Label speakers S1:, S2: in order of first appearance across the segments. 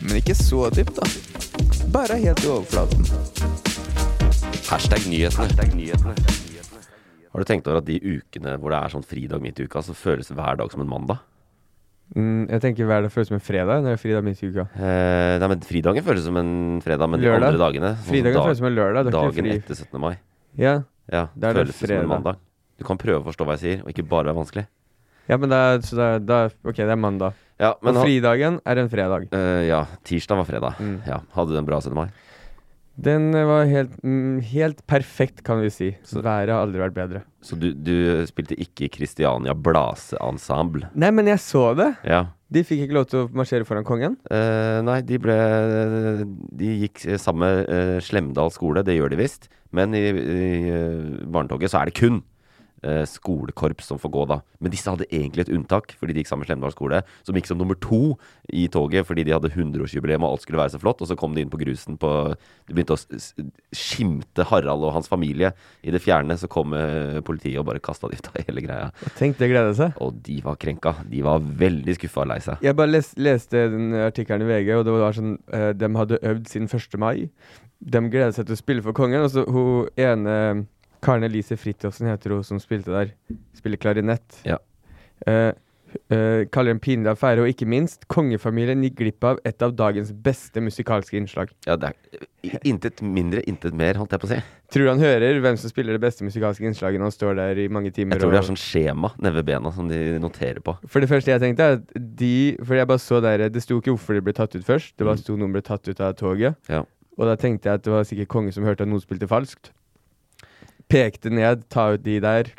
S1: Men ikke så dypt, da. Bare helt i overflaten.
S2: Hashtag nyhetene. Har du tenkt over at de ukene hvor det er sånn fridag midt i uka, så føles hver dag som en mandag?
S1: Mm, jeg tenker hver dag føles som en fredag når det er fridag midt i uka.
S2: Eh, nei, men fridagen føles som en fredag, men de
S1: Lørdag.
S2: andre dagene sånn som
S1: Fridagen
S2: dag-
S1: føles som en lørdag. Det er ikke
S2: Dagen
S1: fri.
S2: etter 17. mai.
S1: Ja.
S2: Ja,
S1: Da er det
S2: føles det som en
S1: fredag.
S2: mandag. Du kan prøve å forstå hva jeg sier, og ikke bare være vanskelig.
S1: ja, men da, så da, da Ok, det er mandag.
S2: Ja, men
S1: og
S2: ha-
S1: fridagen er en fredag.
S2: eh, ja, tirsdag var fredag.
S1: Mm.
S2: Ja, Hadde du en bra 17. mai?
S1: Den eh, var helt, mm, helt perfekt, kan vi si.
S2: Så-
S1: Været har aldri vært bedre.
S2: Så du, du spilte ikke i Christiania Blase-ensemble?
S1: Nei, men jeg så det!
S2: Ja.
S1: De fikk ikke lov til å marsjere foran kongen.
S2: Eh, nei, de ble De gikk eh, samme eh, Slemdal skole, det gjør de visst. Men i, i eh, barnetoget så er det kun eh, skolekorps som får gå, da. Men disse hadde egentlig et unntak, fordi de gikk sammen med Slemdal skole, som gikk som nummer to i toget fordi de hadde 100-årsjubileum og alt skulle være så flott. Og så kom de inn på grusen på De begynte å s- s- skimte Harald og hans familie. I det fjerne så kom eh, politiet og bare kasta de ut av hele greia.
S1: Og tenk, det gleder seg.
S2: Og de var krenka. De var veldig skuffa og lei seg.
S1: Jeg bare les, leste den artikkelen i VG, og det var sånn eh, De hadde øvd siden 1. mai. De gleder seg til å spille for kongen. Og så hun ene Karen Elise Fridtjofsen heter hun som spilte der. Spiller klarinett.
S2: Ja.
S1: Eh, eh, kaller det en pinlig affære, og ikke minst, kongefamilien gikk glipp av et av dagens beste musikalske innslag.
S2: Ja, det er i- intet mindre, intet mer, holdt jeg på å si.
S1: Tror du han hører hvem som spiller det beste musikalske innslaget når han står der i mange timer?
S2: Jeg tror de har
S1: og-
S2: sånn skjema nede ved bena som de noterer på.
S1: For det første jeg tenkte, er at de For jeg bare så der Det sto ikke hvorfor de ble tatt ut først. Det
S2: Mm.
S1: bare sto noen ble tatt ut av toget.
S2: Ja.
S1: Og da tenkte jeg at det var sikkert kongen som hørte at noen spilte falskt. Pekte ned, ta ut de der.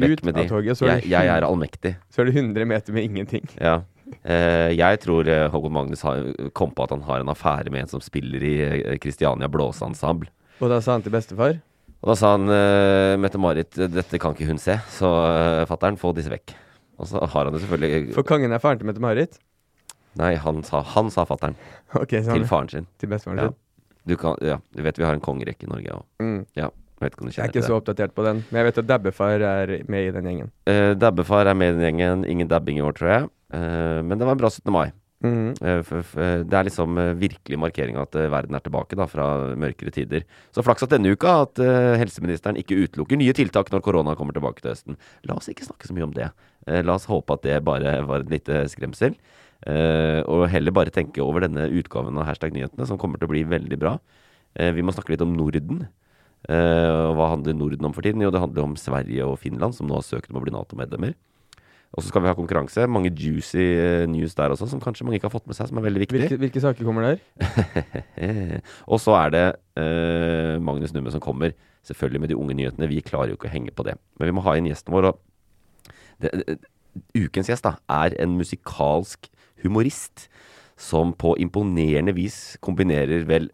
S2: Vekk
S1: Ut
S2: med
S1: av
S2: de.
S1: toget. Så er,
S2: Jeg,
S1: det,
S2: jeg er allmektig.
S1: så er det 100 meter med ingenting.
S2: Ja. Eh, jeg tror eh, Håkon Magnus har, kom på at han har en affære med en som spiller i eh, Christiania Blåseensemble.
S1: Og da sa han til bestefar
S2: Og da sa han eh, Mette-Marit, dette kan ikke hun se, så eh, fatter'n, få disse vekk. Og så har han det selvfølgelig eh,
S1: For kongen er faren til Mette-Marit.
S2: Nei, han sa, han sa fatter'n
S1: Ok, så
S2: til
S1: han
S2: faren sin.
S1: til bestefaren
S2: Ja.
S1: sin.
S2: Du, kan, ja, du vet vi har en kongerekke i Norge òg.
S1: Mm.
S2: Ja, jeg vet ikke om du
S1: Jeg er
S2: kjenner
S1: ikke
S2: til det.
S1: så oppdatert på den, men jeg vet at dabbefar er med i den gjengen.
S2: Eh, dabbefar er med i den gjengen. Ingen dabbing i år, tror jeg. Eh, men det var en bra 17. mai.
S1: Mm.
S2: Eh, f f det er liksom eh, virkelig markering av at eh, verden er tilbake da, fra mørkere tider. Så flaks at denne uka at eh, helseministeren ikke utelukker nye tiltak når korona kommer tilbake til høsten. La oss ikke snakke så mye om det. Eh, la oss håpe at det bare var et lite skremsel. Eh, og heller bare tenke over denne utgaven av Hashtag nyhetene, som kommer til å bli veldig bra. Eh, vi må snakke litt om Norden. Eh, og hva handler Norden om for tiden? Jo, det handler om Sverige og Finland, som nå har søkt om å bli Nato-medlemmer. Og så skal vi ha konkurranse. Mange juicy eh, news der også, som kanskje mange ikke har fått med seg, som er veldig viktig.
S1: Hvilke, hvilke saker kommer der?
S2: Eh, og så er det eh, Magnus Numme som kommer, selvfølgelig med de unge nyhetene. Vi klarer jo ikke å henge på det. Men vi må ha inn gjesten vår. Og det, det, ukens gjest da, er en musikalsk humorist som på imponerende vis kombinerer vel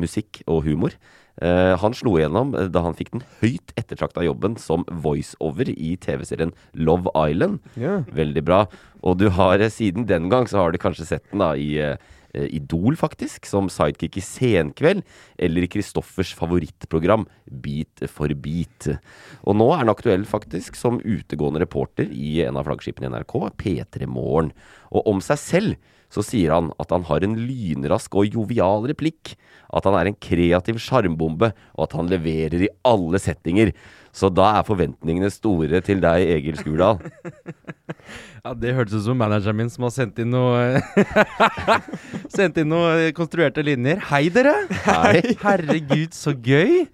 S2: musikk og humor. Eh, han slo igjennom eh, da han fikk den høyt ettertrakta jobben som voiceover i TV-serien Love Island.
S1: Ja.
S2: Veldig bra. Og du har eh, siden den gang, så har du kanskje sett den da i eh, eh, Idol, faktisk. Som sidekick i Senkveld. Eller i Kristoffers favorittprogram Beat for beat. Og nå er den aktuell, faktisk, som utegående reporter i en av flaggskipene i NRK, P3 Morgen. Og om seg selv så sier han at han har en lynrask og jovial replikk, at han er en kreativ sjarmbombe, og at han leverer i alle settinger. Så da er forventningene store til deg, Egil Skurdal.
S3: Ja, Det hørtes ut som manageren min som har sendt inn noe Sendt inn noe konstruerte linjer. Hei, dere!
S2: Hei.
S3: Herregud, så gøy!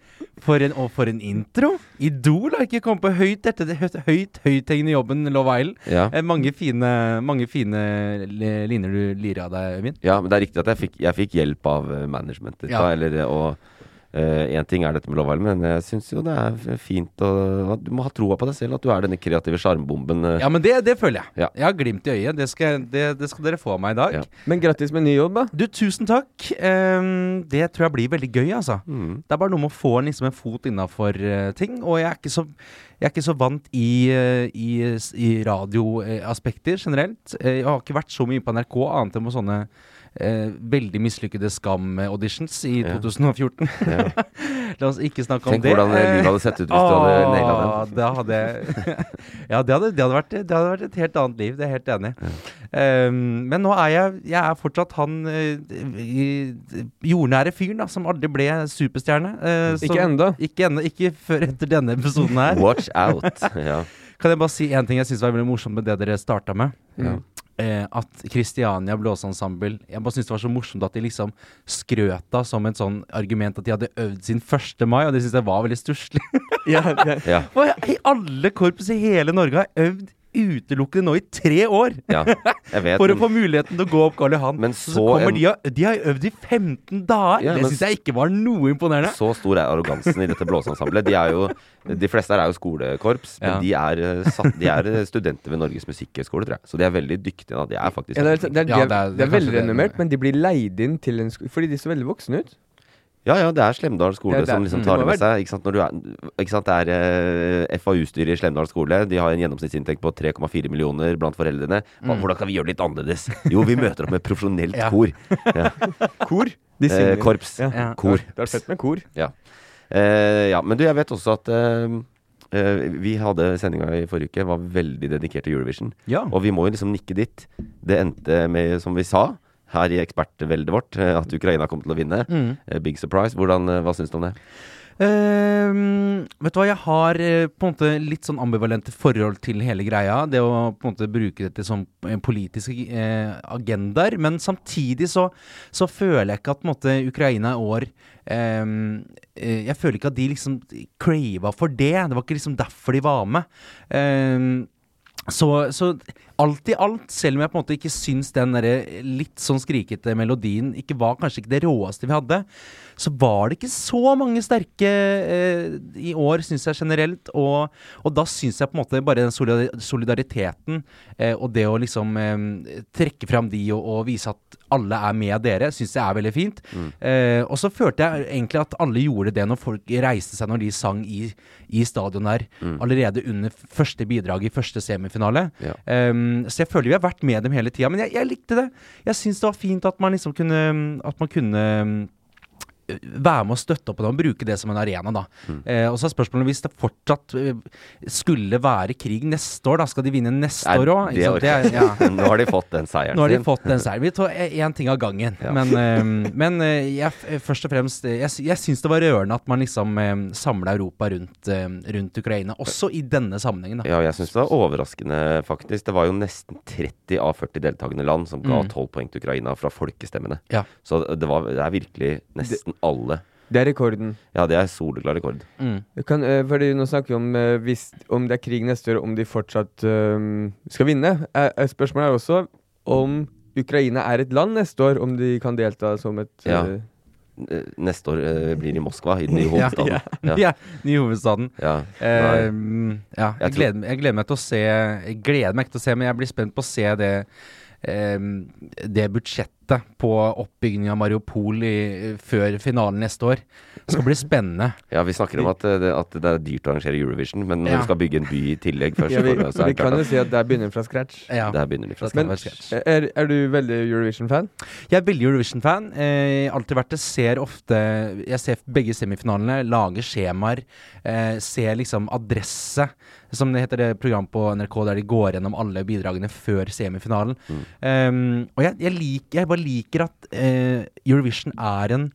S3: For en, og for en intro! Idol har ikke kommet på høyt etter det høyt, høyt, høythengende jobben Love Island.
S2: Ja.
S3: Eh, Mange fine, mange fine li- linjer du lirer av deg, Øyvind.
S2: Ja, men det er riktig at jeg fikk, jeg fikk hjelp av eh, managementet.
S3: Ja.
S2: Da, eller, eh, og, Én ting er dette med Love Island, men jeg syns jo det er f- fint å at Du må ha troa på deg selv, at du er denne kreative sjarmbomben. eh.
S3: Ja, men det, det føler jeg.
S2: Ja.
S3: Jeg har glimt i øyet. Det skal, jeg- det, det skal dere få av meg i dag.
S2: Ja.
S1: Men grattis med ny jobb, da.
S3: Du, tusen takk. Eh, det tror jeg blir veldig gøy, altså.
S2: Mm.
S3: Det er bare noe med å få en, liksom, en fot innafor ting. Og jeg er ikke så, jeg er ikke så vant i, eh, i, s- i radioaspekter generelt. Eh, jeg har ikke vært så mye på NRK annet enn på sånne eh, veldig mislykkede Skam-auditions i
S2: Ja.
S3: 2014.
S2: Ja.
S3: La oss ikke snakke
S2: Tenk
S3: om det.
S2: hvordan eh, livet hadde sett ut hvis du hadde naila den.
S3: Åh, Da hadde jeg Ja, det hadde, det, hadde vært, det hadde vært et helt annet liv. Det er jeg helt enig i. Ehm, men nå er jeg Jeg er fortsatt han eh, i- jordnære fyren da, som aldri ble superstjerne. eh, som-
S1: Ikke enda.
S3: Ikke ennå. Ikke før etter denne episoden her.
S2: Watch out. Ja.
S3: Kan jeg bare si én ting jeg syns var veldig morsomt med det dere starta med?
S2: Ja.
S3: Eh, at Kristiania Blåseensemble Jeg bare syns det var så morsomt at de liksom skrøta som et sånn argument at de hadde øvd sin 1. mai, og det syns jeg var veldig stusslig.
S1: Ja, ja.
S2: Ja.
S3: Hva i alle korps i hele Norge har øvd utelukkende nå i tre år
S2: ja. Jeg vet.
S3: for å
S2: men-
S3: få muligheten til å gå opp Karl Johan.
S2: Men
S3: så,
S2: så
S3: kommer
S2: en-
S3: de og De har øvd i 15 dager!
S2: Ja,
S3: det
S2: men-
S3: syns jeg ikke var noe imponerende.
S2: Så stor er arrogansen i dette blåseensemblet. De, er jo- de fleste her er jo skolekorps, men
S3: Ja.
S2: de, er, eh, satt, de er eh, studenter ved Norges musikkhøgskole, tror jeg. Så de er veldig dyktige. Da. De er faktisk
S1: Eller, det, er, det, er,
S3: Ja, det er-
S1: det er
S3: det er kanskje
S1: veldig
S3: det.
S1: renommert, men de blir leid inn til en skole fordi de så veldig voksne ut.
S2: Ja, ja, det er Slemdal skole
S1: Ja, det er-
S2: som liksom
S1: mm.
S2: tar det
S1: Det må
S2: med seg. Ikke sant, Når du er, ikke sant? Det er eh, FAU-styret i Slemdal skole. De har en gjennomsnittsinntekt på 3,4 millioner blant foreldrene. Hva,
S1: Mm.
S2: Hvordan kan vi gjøre det litt annerledes? Jo, vi møter opp med profesjonelt
S3: Ja.
S2: kor. Ja.
S1: Kor.
S2: Eh,
S1: De synger.
S2: korps.
S1: Ja.
S3: Ja.
S2: Kor.
S1: Det er fett med kor.
S2: Eh, ja, men du, jeg vet også at eh, eh, vi hadde sendinga i forrige uke, var veldig dedikert til Eurovision.
S3: Ja.
S2: Og vi må jo liksom nikke dit. Det endte med, som vi sa her i ekspertveldet vårt, eh, at Ukraina kom til å vinne.
S1: Mm.
S2: Eh, Big surprise. Hvordan, eh, hva syns du om det?
S3: Ehm, vet du hva, jeg har eh, på en måte litt sånn ambivalente forhold til hele greia. Det å på en måte bruke det til sånn eh, politiske eh, agendaer. Men samtidig så, så føler jeg ikke at på en måte Ukraina i år ehm, eh, Jeg føler ikke at de liksom crava for det. Det var ikke liksom derfor de var med. Ehm, så, så alt i alt, selv om jeg på en måte ikke syns den derre litt sånn skrikete melodien ikke var kanskje ikke det råeste vi hadde, så var det ikke så mange sterke eh, i år, syns jeg generelt. Og, og da syns jeg på en måte bare den solidar- solidariteten eh, og det å liksom eh, trekke fram de og, og vise at alle er med dere, syns jeg er veldig fint. Eh, og så følte jeg egentlig at alle gjorde det når folk reiste seg når de sang i, i stadion der, allerede under f- første bidrag i første semifinale.
S2: Mm. Ja.
S3: Ehm, så jeg føler vi har vært med dem hele tida, men jeg, jeg likte det. Jeg syns det var fint at man liksom kunne At man kunne mm, være med og støtte opp om det og bruke det som en arena, da.
S2: Mm.
S3: Eh, og så er spørsmålet hvis det fortsatt eh, skulle være krig neste år, da. Skal de vinne neste
S2: Nei,
S3: år òg?
S2: det orker jeg
S3: ja.
S2: ikke. Nå har de fått den seieren
S3: Nå har de
S2: sin.
S3: fått den seieren. Vi tar én ting av gangen.
S2: Ja.
S3: Men, eh, men eh, jeg, f- først og fremst eh, Jeg, sy- jeg syns det var rørende at man liksom eh, samla Europa rundt, eh, rundt Ukraina, også i denne sammenhengen. da
S2: Ja, jeg syns det var overraskende, faktisk. Det var jo nesten 30 av 40 deltakende land som
S1: Mm.
S2: ga 12 poeng til Ukraina fra folkestemmene.
S3: Ja.
S2: Så det, var, det er virkelig nesten alle.
S1: Det er rekorden.
S2: Ja, det er soleklar rekord.
S3: Mm.
S1: Du Kan, eh, fordi Nå snakker vi om eh, hvis, om det er krig neste år, om de fortsatt eh, skal vinne. Eh, eh, spørsmålet er også om Ukraina er et land neste år, om de kan delta som et
S2: Ja.
S1: eh,
S2: Eh, Neste år eh, blir det i Moskva, i den nye
S3: Ja.
S2: hovedstaden.
S3: Ja.
S2: Ja.
S3: Ny hovedstaden.
S2: Ja.
S3: Eh,
S2: Nei.
S3: ja, jeg,
S2: Jeg tror-
S3: gleder, meg- jeg gleder meg til å se Jeg gleder meg ikke til å se, men jeg blir spent på å se det eh, Det budsjettet på oppbyggingen av Mariupol i, før finalen neste år. Det skal bli spennende.
S2: Ja, vi snakker om at, eh, det, at det er dyrt å arrangere Eurovision, men når
S3: Ja.
S2: du skal bygge en by i tillegg først,
S1: ja, vi,
S2: for det, så er
S1: vi
S2: det
S1: kan
S2: klart altså.
S1: jo
S2: at
S1: si at der begynner vi fra scratch.
S3: Ja.
S2: der begynner de fra scratch.
S3: Men- det
S1: Men
S3: være scratch.
S1: er, er du veldig Eurovision-fan?
S3: Jeg er veldig Eurovision-fan. Eh, alltid vært det. Ser ofte Jeg ser begge semifinalene, lager skjemaer. Eh, ser liksom adresse, som det heter det program på NRK der de går gjennom alle bidragene før semifinalen. Eh, og jeg, jeg, liker, jeg bare liker at eh, Eurovision er en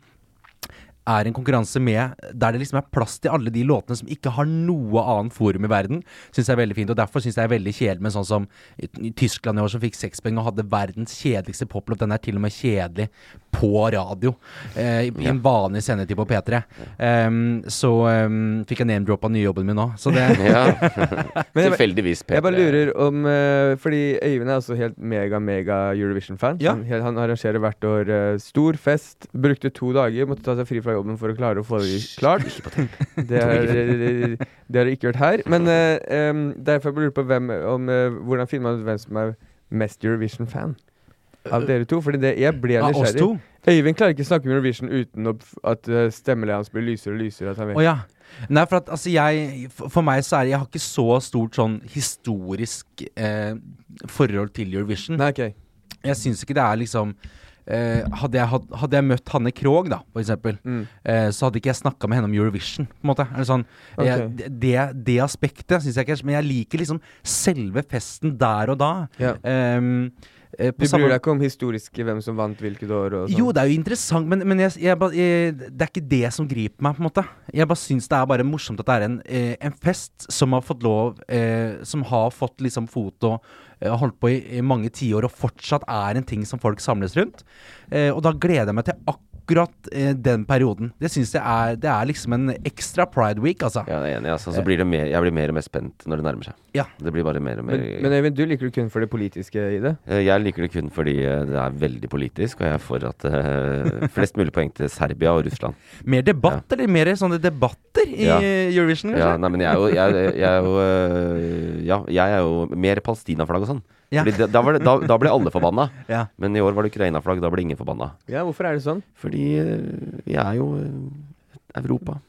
S3: er en konkurranse med der det liksom er plass til alle de låtene som ikke har noe annet forum i verden, syns jeg er veldig fint. Og derfor syns jeg det er veldig kjedelig med sånn som i- i Tyskland i år, som fikk seks poeng og hadde verdens kjedeligste poplåt. Den er til og med kjedelig på radio. eh, I i en vanlig sendetid på P3. Ehm, så ehm, fikk jeg name-droppa nye jobben min nå. Så det
S2: Ja.
S1: Men jeg,
S2: Tilfeldigvis, P3.
S1: jeg bare lurer om eh, Fordi Øyvind er også helt mega-mega Eurovision-fan.
S3: Ja.
S1: Han, han arrangerer hvert år eh, stor fest. Brukte to dager, måtte ta seg fri fra jobben for å klare å få det klart. Det har, det har du ikke gjort her. Men eh, em, derfor lurer jeg på hvem, om, eh, hvordan finner man ut hvem som er mest Eurovision-fan av dere to? Fordi det, jeg ble
S3: Eh, Av oss
S1: nysgjerrig.
S3: to?
S1: Øyvind klarer ikke å snakke om Eurovision uten å f- at eh, stemmeleiet hans blir lysere og lysere. At han
S3: Å
S1: vet.
S3: ja. Nei, for at altså jeg For for meg så er det Jeg har ikke så stort sånn historisk eh, forhold til Eurovision.
S1: Nei, ok.
S3: Jeg syns ikke det er liksom eh, hadde, jeg, hatt- hadde jeg møtt Hanne Krogh, da, for eksempel,
S1: Mm.
S3: eh, så hadde ikke jeg snakka med henne om Eurovision. På en måte. Er det sånn, jeg,
S1: Ok.
S3: det, det aspektet syns jeg ikke er så- Men jeg liker liksom selve festen der og da.
S1: Ja.
S3: Ehm, eh, på
S1: Du
S3: samme-
S1: bryr deg ikke om historiske hvem som vant hvilket år? Og sånn.
S3: jo, det er jo interessant, men, men jeg, jeg, ba- eh, det er ikke det som griper meg. på en måte Jeg bare syns det er bare morsomt at det er en, eh, en fest som har fått lov eh, Som har fått liksom fot og eh, holdt på i, i mange tiår, og fortsatt er en ting som folk samles rundt. Eh, og da gleder jeg meg til akkurat eh, den perioden. Det syns jeg er Det er liksom en ekstra pride week, altså.
S2: Ja, jeg er enig. Altså. Så blir det mer, jeg blir mer og mer spent når det nærmer seg.
S3: Ja.
S2: Det blir bare mer og mer
S1: Men, men Øyvind, du liker det kun for det politiske i det?
S2: Eh, Jeg liker det kun fordi eh, det er veldig politisk, og jeg er for at eh, flest mulig poeng til Serbia og Russland.
S3: Mer debatt, eller mer sånne debatter i
S2: Ja.
S3: eh, Eurovision,
S2: Ja,
S3: kanskje?
S2: nei, men jeg er jo, jeg, er- jeg er jo eh, Ja, jeg er jo mer Palestina-flagg og sånn.
S3: Ja.
S2: Fordi da, da, var det, da, da ble alle forbanna.
S3: Ja.
S2: Men i år var det Ukraina-flagg, da ble ingen forbanna.
S1: Ja, hvorfor er det sånn?
S2: Fordi eh, vi er jo eh, Europa.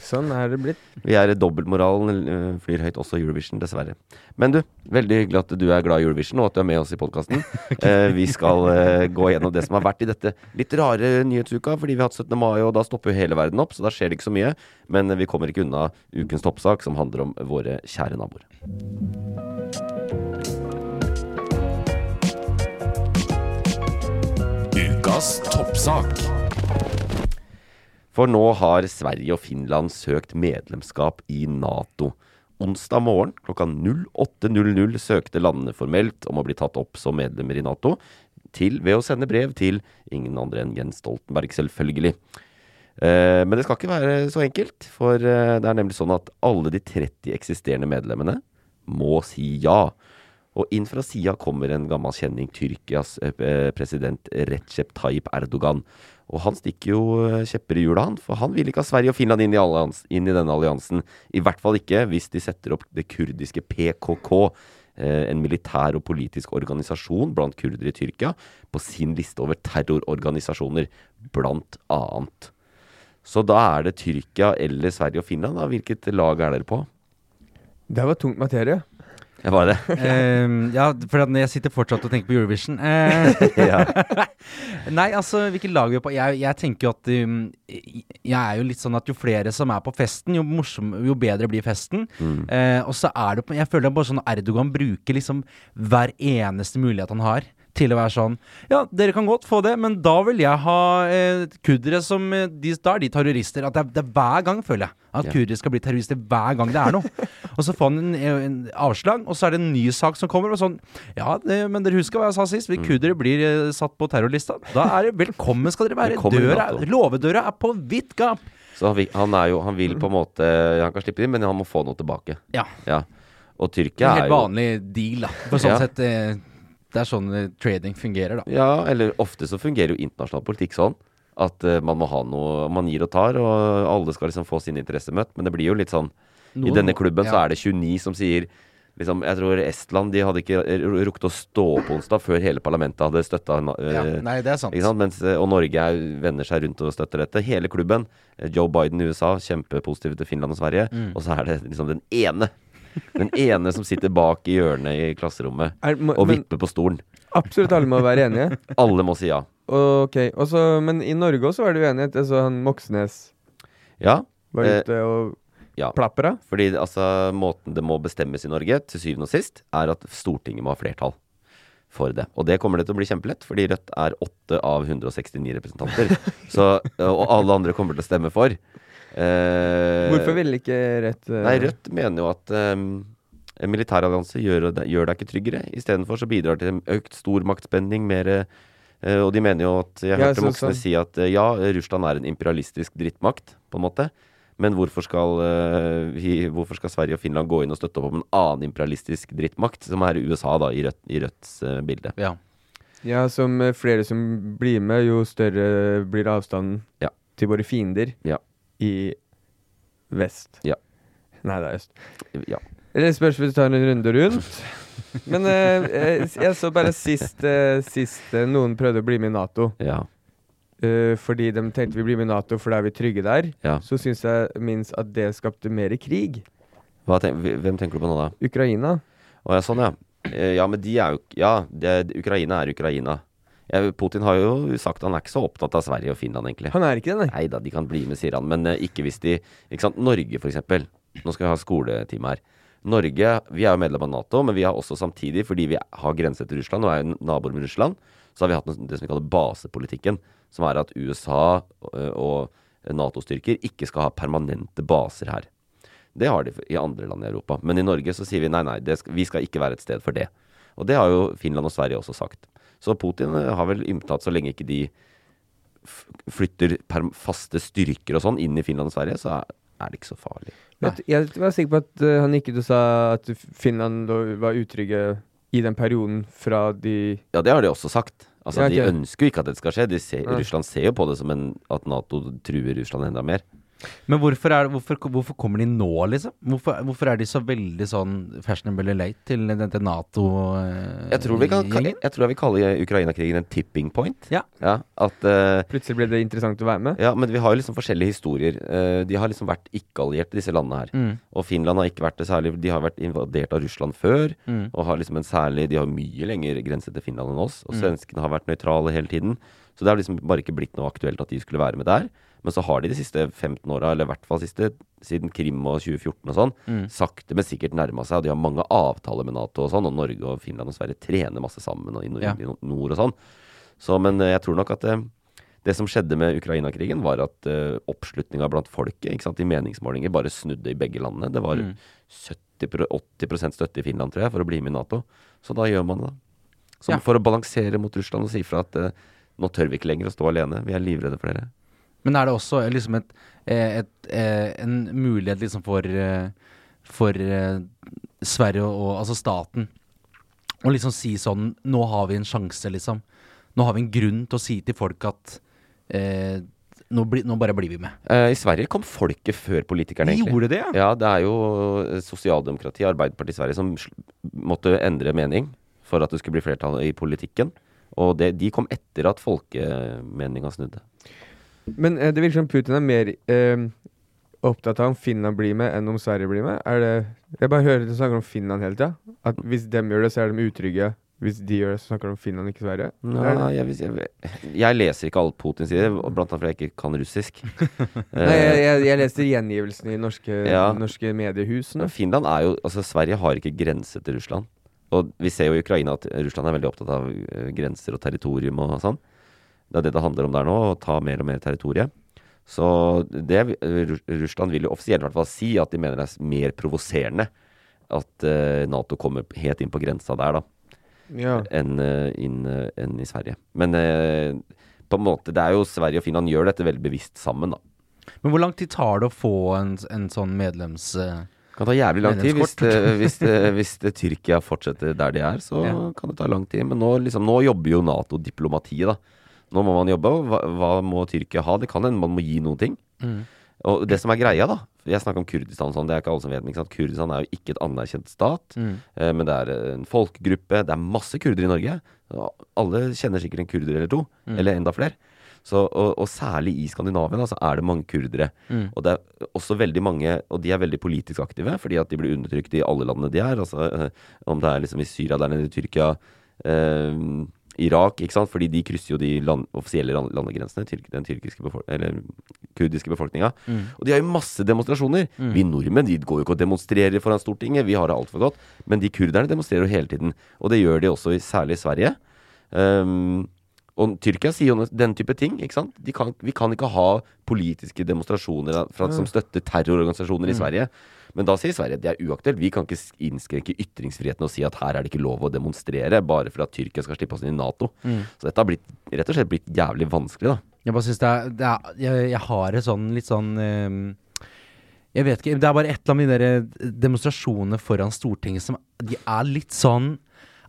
S1: Sånn er det blitt.
S2: Vi er dobbeltmoralen eh, flyr høyt også i Eurovision, dessverre. Men du, veldig hyggelig at du er glad i Eurovision, og at du er med oss i podkasten. vi skal eh, gå gjennom det som har vært i dette litt rare nyhetsuka, fordi vi har hatt 17. mai, og da stopper jo hele verden opp, så da skjer det ikke så mye. Men eh, vi kommer ikke unna ukens toppsak, som handler om våre kjære naboer.
S4: Ukas toppsak.
S2: For nå har Sverige og Finland søkt medlemskap i Nato. Onsdag morgen klokka 08.00 søkte landene formelt om å bli tatt opp som medlemmer i Nato, til ved å sende brev til ingen andre enn Jens Stoltenberg, selvfølgelig. Eh, Men det skal ikke være så enkelt, for eh, det er nemlig sånn at alle de 30 eksisterende medlemmene må si ja. Og inn fra sida kommer en gammel kjenning, Tyrkias eh, president Recep Tayyip Erdogan. Og han stikker jo eh, kjepper i hjula, han. For han vil ikke ha Sverige og Finland inn i, allians, inn i denne alliansen. I hvert fall ikke hvis de setter opp det kurdiske PKK, eh, en militær og politisk organisasjon blant kurdere i Tyrkia, på sin liste over terrororganisasjoner, blant annet. Så da er det Tyrkia eller Sverige og Finland, da. Hvilket lag er dere på?
S1: Det var tungt materie.
S2: Ja, Hva er det?
S3: Ehm, ja, for at jeg sitter fortsatt og tenker på Eurovision. Eh,
S2: Ja.
S3: Nei, altså, hvilket lag vi er på Jeg, jeg tenker jo at um, Jeg er jo litt sånn at jo flere som er på festen, jo, morsom, jo bedre blir festen.
S2: Mm.
S3: Eh, og så er det på- Jeg føler bare sånn Erdogan bruker liksom hver eneste mulighet han har. Til å være sånn Ja, dere kan godt få det, men da vil jeg ha eh, kurdere som eh, de, Da er de terrorister. At det, er- det er hver gang, føler jeg. At
S2: Ja.
S3: kurdere skal bli terrorister hver gang det er noe. og så får han en, en avslag, og så er det en ny sak som kommer. Og sånn Ja, det, men dere husker hva jeg sa sist?
S2: Mm.
S3: Hvis kurdere blir eh, satt på terrorlista, da er det velkommen skal dere være.
S2: Velkommen i
S3: Døra,
S2: NATO.
S3: låvedøra er på vidt gap.
S2: Så han vil, han, er jo, han vil på en måte Han kan slippe det inn, men han må få noe tilbake.
S3: Ja.
S2: Ja. Og Tyrkia
S3: En
S2: er
S3: helt
S2: jo
S3: vanlig deal, da. For sånn
S2: Ja.
S3: sett eh, Det er sånn eh, trading fungerer, da.
S2: Ja, eller ofte så fungerer jo internasjonal politikk sånn. At eh, man må ha noe Man gir og tar, og alle skal liksom få sine interesser møtt. Men det blir jo litt sånn I
S3: Noen
S2: denne
S3: må-
S2: klubben så
S3: ja.
S2: er det 29 som sier liksom, Jeg tror Estland de hadde ikke r- rukket å stå opp onsdag før hele parlamentet hadde eh, støtta
S3: Ja, nei, det er sant.
S2: Ikke sant? Mens, eh, og Norge er, vender seg rundt og støtter dette. Hele klubben. eh, Joe Biden i USA, kjempepositive til Finland og Sverige.
S1: Mm.
S2: Og så er det liksom den ene. Den ene som sitter bak i hjørnet i klasserommet
S1: Er, må,
S2: og
S1: men
S2: vipper på stolen.
S1: absolutt alle må være enige.
S2: Alle må si ja.
S1: Ok, og så- Men i Norge også var det uenighet. Altså, han Moxnes
S2: Ja.
S1: var
S2: Eh,
S1: ute og
S2: ja.
S1: plapra.
S2: Fordi altså, måten det må bestemmes i Norge, til syvende og sist, er at Stortinget må ha flertall for det. Og det kommer det til å bli kjempelett, fordi Rødt er 8 av 169 representanter. Så, eh, og alle andre kommer til å stemme for. Eh,
S1: Hvorfor ville ikke Rødt eh,
S2: Nei, Rødt mener jo at ehm, en militærallianse gjør, deg- gjør deg ikke tryggere. Istedenfor så bidrar det til økt stormaktspenning, mer Eh, og de mener jo at Jeg
S1: Ja,
S2: hørte
S1: så-
S2: voksne
S1: så-
S2: si at eh, ja, Russland er en imperialistisk drittmakt, på en måte. Men hvorfor skal, eh, vi, hvorfor skal Sverige og Finland gå inn og støtte opp om en annen imperialistisk drittmakt, som er USA, da, i, Rødt, i Rødts eh, bilde?
S3: Ja.
S1: Ja, som eh, flere som blir med, jo større blir avstanden
S2: Ja.
S1: til våre fiender
S2: Ja.
S1: i vest.
S2: Ja.
S1: Nei, det er øst.
S2: Ja.
S1: Eller spørs hvis vi tar en runde rundt. Men eh, eh, jeg så bare sist, eh, sist eh, noen prøvde å bli med i Nato.
S2: ja.
S1: Eh, fordi de tenkte vi blir med i Nato, for da er vi trygge der.
S2: Ja.
S1: Så syns jeg minst at det skapte mer krig.
S2: Hva tenk, hvem tenker du på nå, da?
S1: Ukraina.
S2: Å ja, sånn ja. Eh, Ja, men de er jo Ja, det, Ukraina er Ukraina. Ja, Putin har jo sagt han er ikke så opptatt av Sverige og Finland, egentlig.
S1: Han er ikke det, nei.
S2: Nei da, de kan bli med, sier han. Men eh, ikke hvis de Ikke sant. Norge, for eksempel. Nå skal vi ha skoletime her. Norge, vi er jo medlem av Nato, men vi har også samtidig, fordi vi har grense til Russland og er jo naboer med Russland, så har vi hatt noe, det som vi kaller basepolitikken, som er at USA eh, og Nato-styrker ikke skal ha permanente baser her. Det har de i andre land i Europa. Men i Norge så sier vi nei, nei, det skal, vi skal ikke være et sted for det. Og det har jo Finland og Sverige også sagt. Så Putin eh, har vel inntatt, så lenge ikke de f- flytter perm faste styrker og sånn inn i Finland og Sverige, så er, er det ikke så farlig.
S1: Jeg, jeg var sikker på at eh, han gikk ut og sa at Finland lå- var utrygge i den perioden fra de
S2: Ja, det har de også sagt. Altså,
S1: Ja,
S2: De
S1: ok.
S2: ønsker jo ikke at det skal skje. De ser,
S1: Nei.
S2: Russland ser jo på det som en, at Nato truer Russland enda mer.
S3: Men hvorfor, er, det- hvorfor, hvorfor kommer de nå, liksom? Hvorfor, hvorfor er de så veldig sånn fashionable late til dette eh, Nato-gjengen?
S2: Jeg tror vi kan jeg, tror jeg vil kalle Ukraina-krigen en tipping point.
S3: Ja.
S2: at eh,
S1: Plutselig ble det interessant å være med.
S2: Ja, men vi har jo liksom forskjellige historier. Eh, de har liksom vært ikke-allierte, disse landene her.
S3: Mm.
S2: Og Finland har ikke vært det særlig. De har vært invadert av Russland før.
S3: Mm.
S2: Og har liksom en særlig De har mye lengre grense til Finland enn oss. Og
S3: Mm.
S2: svenskene har vært nøytrale hele tiden. Så det har liksom bare ikke blitt noe aktuelt at de skulle være med der. Men så har de de siste 15 åra, eller i hvert fall siste, siden Krim og 2014 og sånn,
S3: Mm.
S2: sakte, men sikkert nærma seg. Og de har mange avtaler med Nato og sånn. Og Norge og Finland og Sverige trener masse sammen og i nord,
S3: Ja.
S2: i nord og sånn. Så, men eh, jeg tror nok at eh, det som skjedde med Ukraina-krigen, var at uh, oppslutninga blant folket ikke sant, i meningsmålinger bare snudde i begge landene. Det
S3: Mm.
S2: var 70 pro- 80 støtte i Finland, tror jeg, for å bli med i Nato. Så da gjør man det. da. Som
S3: Ja.
S2: For å balansere mot Russland og si fra at eh, nå tør vi ikke lenger å stå alene. Vi er livredde for dere.
S3: Men er det også eh, liksom et, eh, et, eh, en mulighet liksom for, eh, for eh, Sverige og, og altså staten å liksom si sånn Nå har vi en sjanse, liksom. Nå har vi en grunn til å si til folk at eh, nå, bli, nå bare blir vi med.
S2: Eh, I Sverige kom folket før politikerne, egentlig.
S3: Gjorde det, ja?
S2: Ja, det er jo eh, sosialdemokrati, Arbeiderpartiet i Sverige, som sl- måtte endre mening for at det skulle bli flertall i politikken. Og det, de kom etter at folkemeninga snudde.
S1: Men eh, det virker som Putin er mer eh, opptatt av om Finland blir med, enn om Sverige blir med. Er det, jeg bare hører de snakker om Finland hele tida. At hvis dem gjør det, så er de utrygge. Hvis de gjør det, så snakker de om Finland, ikke Sverige. Er det-
S2: Nei, jeg, vil si- jeg, vil- jeg leser ikke alt Putin sier, og blant annet fordi jeg ikke kan russisk.
S1: Nei, jeg,
S2: Eh,
S1: jeg, jeg leser gjengivelsen i norske,
S2: Ja.
S1: norske mediehusene.
S2: Finland er jo Altså, Sverige har ikke grense til Russland. Og vi ser jo i Ukraina at Russland er veldig opptatt av eh, grenser og territorium og sånn. Det er det det handler om der nå, å ta mer og mer territorie. Så det eh, Rus- Russland vil jo offisielt i hvert fall si at de mener det er s- mer provoserende at eh, Nato kommer helt inn på grensa der, da.
S1: Ja.
S2: enn eh, inn, eh, enn i Sverige. Men eh, på en måte, det er jo Sverige og Finland gjør dette veldig bevisst sammen, da.
S3: Men hvor lang tid tar det å få en, en sånn medlems... eh,
S2: Kan ta jævlig lang tid. Hvis,
S3: Medlemskort.
S2: det- hvis, det- hvis det Tyrkia fortsetter der de er, så
S3: Ja.
S2: kan det ta lang tid. Men nå, liksom, nå jobber jo Nato-diplomatiet, da. Nå må man jobbe. og Hva, hva må Tyrkia ha? Det kan hende man må gi noen ting. Og det som er greia, da Jeg snakker om Kurdistan og sånn, det er ikke alle som vet. Men ikke sant? Kurdistan er jo ikke et anerkjent stat. Eh, men det er en folkegruppe. Det er masse kurdere i Norge. Og alle kjenner sikkert en kurder eller to. Eller enda flere. Så, og, og særlig i Skandinavia da, så er det mange kurdere. Og det er også veldig mange, og de er veldig politisk aktive, fordi at de blir undertrykt i alle landene de er. Altså, eh, om det er liksom i Syria, der nede i Tyrkia, eh, Irak, ikke sant? Fordi de krysser jo de land, offisielle land, landegrensene, tyrk, den tyrkiske befolk eller kurdiske befolkninga. Og de har jo masse demonstrasjoner. Vi nordmenn de går jo ikke og demonstrerer foran Stortinget, vi har det altfor godt. Men de kurderne demonstrerer jo hele tiden. Og det gjør de også i, særlig i Sverige. Um, Og Tyrkia sier jo noe- den type ting. ikke sant? De kan, vi kan ikke ha politiske demonstrasjoner fra, som støtter terrororganisasjoner
S3: Mm.
S2: i Sverige. Men da sier Sverige at det er uaktuelt. Vi kan ikke s- innskrenke ytringsfriheten og si at her er det ikke lov å demonstrere, bare for at Tyrkia skal slippe oss inn i Nato.
S3: Mm.
S2: Så dette har blitt, rett og slett blitt jævlig vanskelig, da.
S3: Jeg bare syns det er, det er jeg, jeg har et sånn litt sånn ehm, Jeg vet ikke. Det er bare et eller annet med de der eh, demonstrasjonene foran Stortinget som De er litt sånn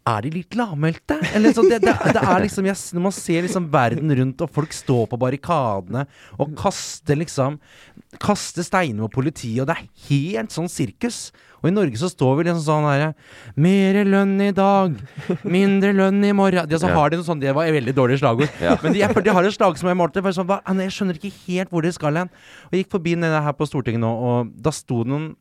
S3: er de litt lavmælte? Eller sånn, det, det, det er liksom, jeg, s- når man ser liksom verden rundt, og folk står på barrikadene og kaster liksom Kaster steiner mot politiet, og det er helt sånn sirkus. Og i Norge så står vi liksom sånn her Mere lønn i dag, mindre lønn i morgen. De, altså,
S2: Ja.
S3: har de noe sånt, det var et veldig dårlig slagord. Men de, jeg, føler de har et slag som jeg målte. Bare sånn, hva, nei, jeg skjønner ikke helt hvor de skal hen. Og jeg gikk forbi denne her på Stortinget nå, og da sto det noen